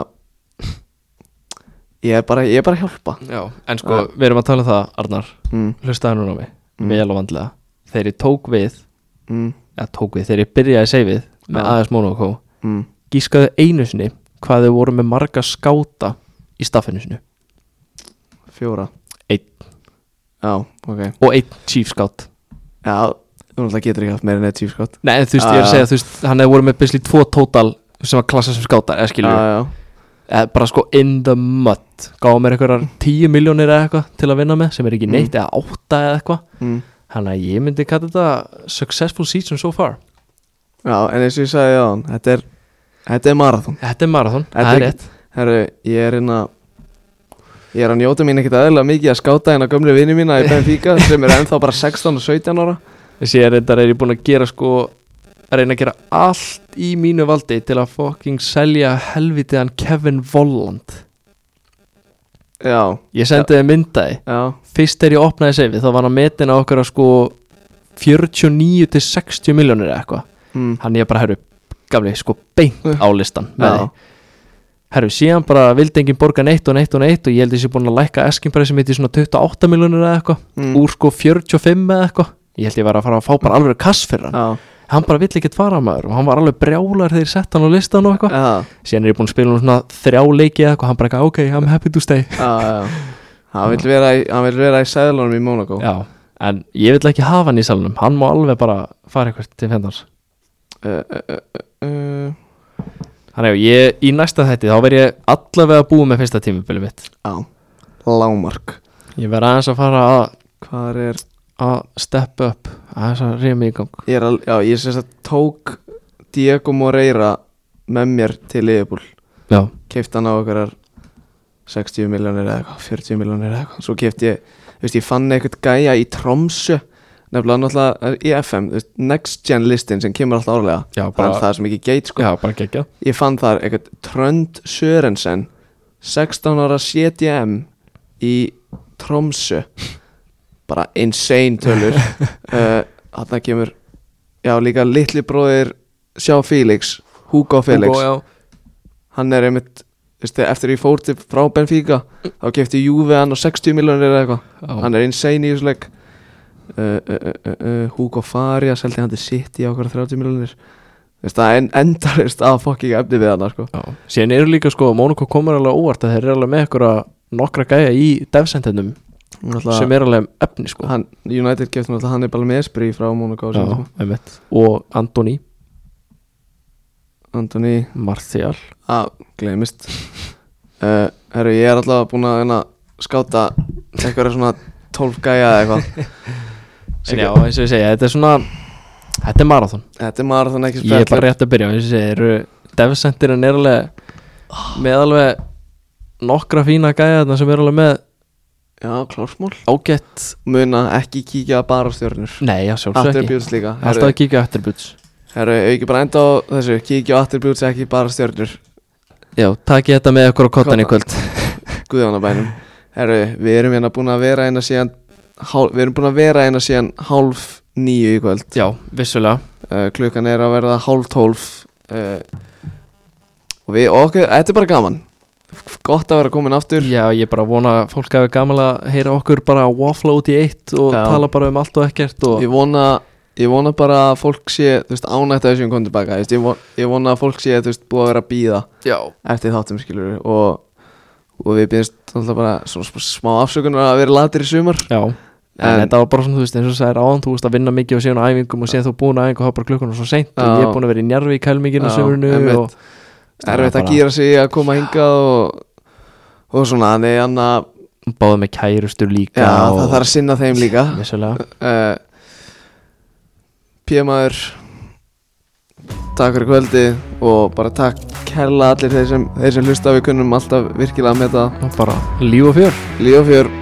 A: Ég er bara, ég er bara að hjálpa
B: Já, en sko, við erum að tala um það, Arnar
A: mm,
B: hlustaði núna á mig,
A: Mm.
B: vel og vandlega þegar ég tók við,
A: mm,
B: eða tók við þegar ég byrjaði saveið með
A: Já.
B: AS Monaco
A: mm.
B: gískaðu einu sinni hvað þau voru með marga skáta í staffinu sinu
A: Fjóra
B: Einn.
A: Já, ok
B: og einn chief scout
A: Já, þú náttúrulega getur ekki haft meira en sko. eitt tífskott
B: Nei, en þú veist, ég er að
A: Já,
B: segja, þú veist, hann hefur voru með basically tvo total sem var klassa sem skáta, eða skilur
A: Já, já,
B: eða bara sko in the mud gáða mér einhverjar 10 miljónir eða eitthvað til að vinna með sem er ekki
A: Mm.
B: neitt eða átta eða eitthvað
A: mm.
B: þannig að ég myndi kalla þetta successful season so far
A: já en eins og ég sagði á hann Þetta er, þetta er marathon
B: þetta er marathon,
A: Þetta
B: það
A: er
B: er
A: ekki-
B: rétt
A: Herru, ég er hérna Ég er að njóta mín ekkert aðeinslega mikið að skáta hérna gömlu vini mína í Benfica sem er ennþá bara 16 og 17 ára
B: þessi ég er reyndar er ég búin að gera sko að reyna að gera allt í mínu valdi til að fucking selja helvitiðan Kevin Volland
A: Já,
B: ég sendi þið myndaði
A: já,
B: fyrst er ég opnaði sefið þá var hann metin á okkur að sko 49 til 60 miljónir eða eitthvað
A: mm.
B: hann ég bara herru gamli sko beint á listan með
A: já,
B: því Herru, síðan bara vildi enginn borga neitt og neitt og neitt og ég held að ég sé búin að lækka eskinbæri sem heitir svona 28 miljonir eða eitthvað
A: Mm.
B: úr sko 45 eða eitthvað ég held ég var að fara að fá bara alveg kass fyrir hann
A: já,
B: hann bara vill ekkert fara maður og hann var alveg brjálar þegar ég sett hann á listan og eitthvað
A: já,
B: síðan er ég búin að spila hann svona þrjá leiki eða eitthvað hann bara eitthvað ok, I'm happy to stay
A: já, já Hann vil vera í, hann vill vera í sæðlunum í Monaco
B: Já, en ég vil ekki hafa hann í salunum hann má alveg bara fara eitthvað til fendans
A: uh, uh, uh, uh,
B: Þannig að ég í næsta þætti þá verð ég allavega búið með fyrsta tímubili mitt
A: Já, lámark
B: ég verð aðeins að fara að,
A: Hvað er
B: að step up aðeins að reyja mig í gang
A: Ég er alveg, já, ég sem sagt tók Diego Moreira með mér til Liverpool
B: Já
A: Keift hann á okkarar 60 miljónir eða eitthvað, 40 miljónir eða eitthvað Svo keift ég, þú veist, ég fann eitthvað gæja í Tromsö Nefnilega náttúrulega í FM, þú veist, Next Gen listin sem kemur alltaf árlega
B: Já,
A: Bara
B: bara,
A: það er sem ekki geit, sko
B: já, bara geggjað
A: Ég fann þar eitthvað Trönd Sörensen 16 ára CDM í Tromsö bara insane tölur uh, hann kemur já líka litli bróðir sjá Felix, Hugo Felix
B: Hugo, já.
A: hann er einmitt veistu, eftir ég fór til frá Benfica þá kefti Juve hann á 60 miljonir eða eitthvað
B: Já.
A: hann er insane í þessu leik uh, uh, uh, uh, uh, Hugo Faria seldi hann til City á okkur 30 miljonir það en, endarist að fokking efni við hann sko.
B: Já. Síðan eru líka sko, Mónuko komur alveg á óvart að þeir eru alveg með ykkur að nokkra gæja í devsendendum sem er alveg efni sko
A: hann, United kefti náttúrulega hann er bara með espri frá sko, Monaco á
B: Já,
A: sínum tíma.
B: einmitt. og Antoni
A: Anthony
B: Martial
A: að gleymist uh, herru ég er alltaf búin að reyna að skáta eitthvað svona 12 gæja eða eitthvað
B: En
A: Sigur-
B: já, eins og ég segja, þetta er svona Þetta er marathon
A: þetta er maður þannig ekki
B: Ég er bara rétt að byrja, eins og ég segja eru Devsendirinn er alveg með alveg nokkra fína gæja þarna sem eru alveg með
A: já klársmál
B: ágætt
A: muna ekki kíkja bara á stjórnur
B: Nei, já, sjálfsög ekki
A: attributes líka
B: Alltaf að kíkja attributes
A: herru ef ekki bara enda á þessu kíkja á attributes ekki bara stjórnur
B: Já, takk ég þetta með ykkur á kottan í
A: Koddan.
B: kvöld
A: guðanabænum herru við erum hérna búin að vera eina síðan hálf, við erum búin að vera eina síðan hálf nýju í kvöld
B: Já, vissulega
A: uh, klukkan er að verða hálf tólf uh, og við okkur, þetta er bara gaman gott að vera komin aftur
B: Já, ég bara vona að fólk hafi gaman að heyra okkur bara waffla út í eitt og
A: Já.
B: tala bara um allt og ekkert og
A: ég vona, ég vona bara að fólk sé þú veist, ánægt að þessum kom tilbaka þú veist, ég, von, ég vona að fólk sé þú veist, búið að vera að býða
B: Já,
A: eftir þáttum skilur og, og við býðumst Það er alltaf bara svona sp- smá afsökunar að vera latir í sumar
B: Já, en,
A: En-
B: þetta var bara svona, þú veist, eins og þú sagðir áðan, þú veist að vinna mikið og síðan á æfingum og síðan þú búin að æfingu og hafa bara klukkan og svo seint
A: Já.
B: og ég er búin að vera í njárvi í kælmikinu
A: Já,
B: sömurinu
A: einmitt.
B: og Það er
A: Erfitt að
B: bara-
A: gýra sig að koma hingað og, og svona Nei, hann að
B: báða með kærustur líka
A: Já,
B: og
A: það þarf að sinna þeim líka
B: Vissulega,
A: uh, PM-aður Takk fyrir kvöldi og bara takk kærlega allir þeir sem, þeir sem hlusta við kunnum alltaf virkilega með það
B: bara líf og fjör
A: Líf og fjör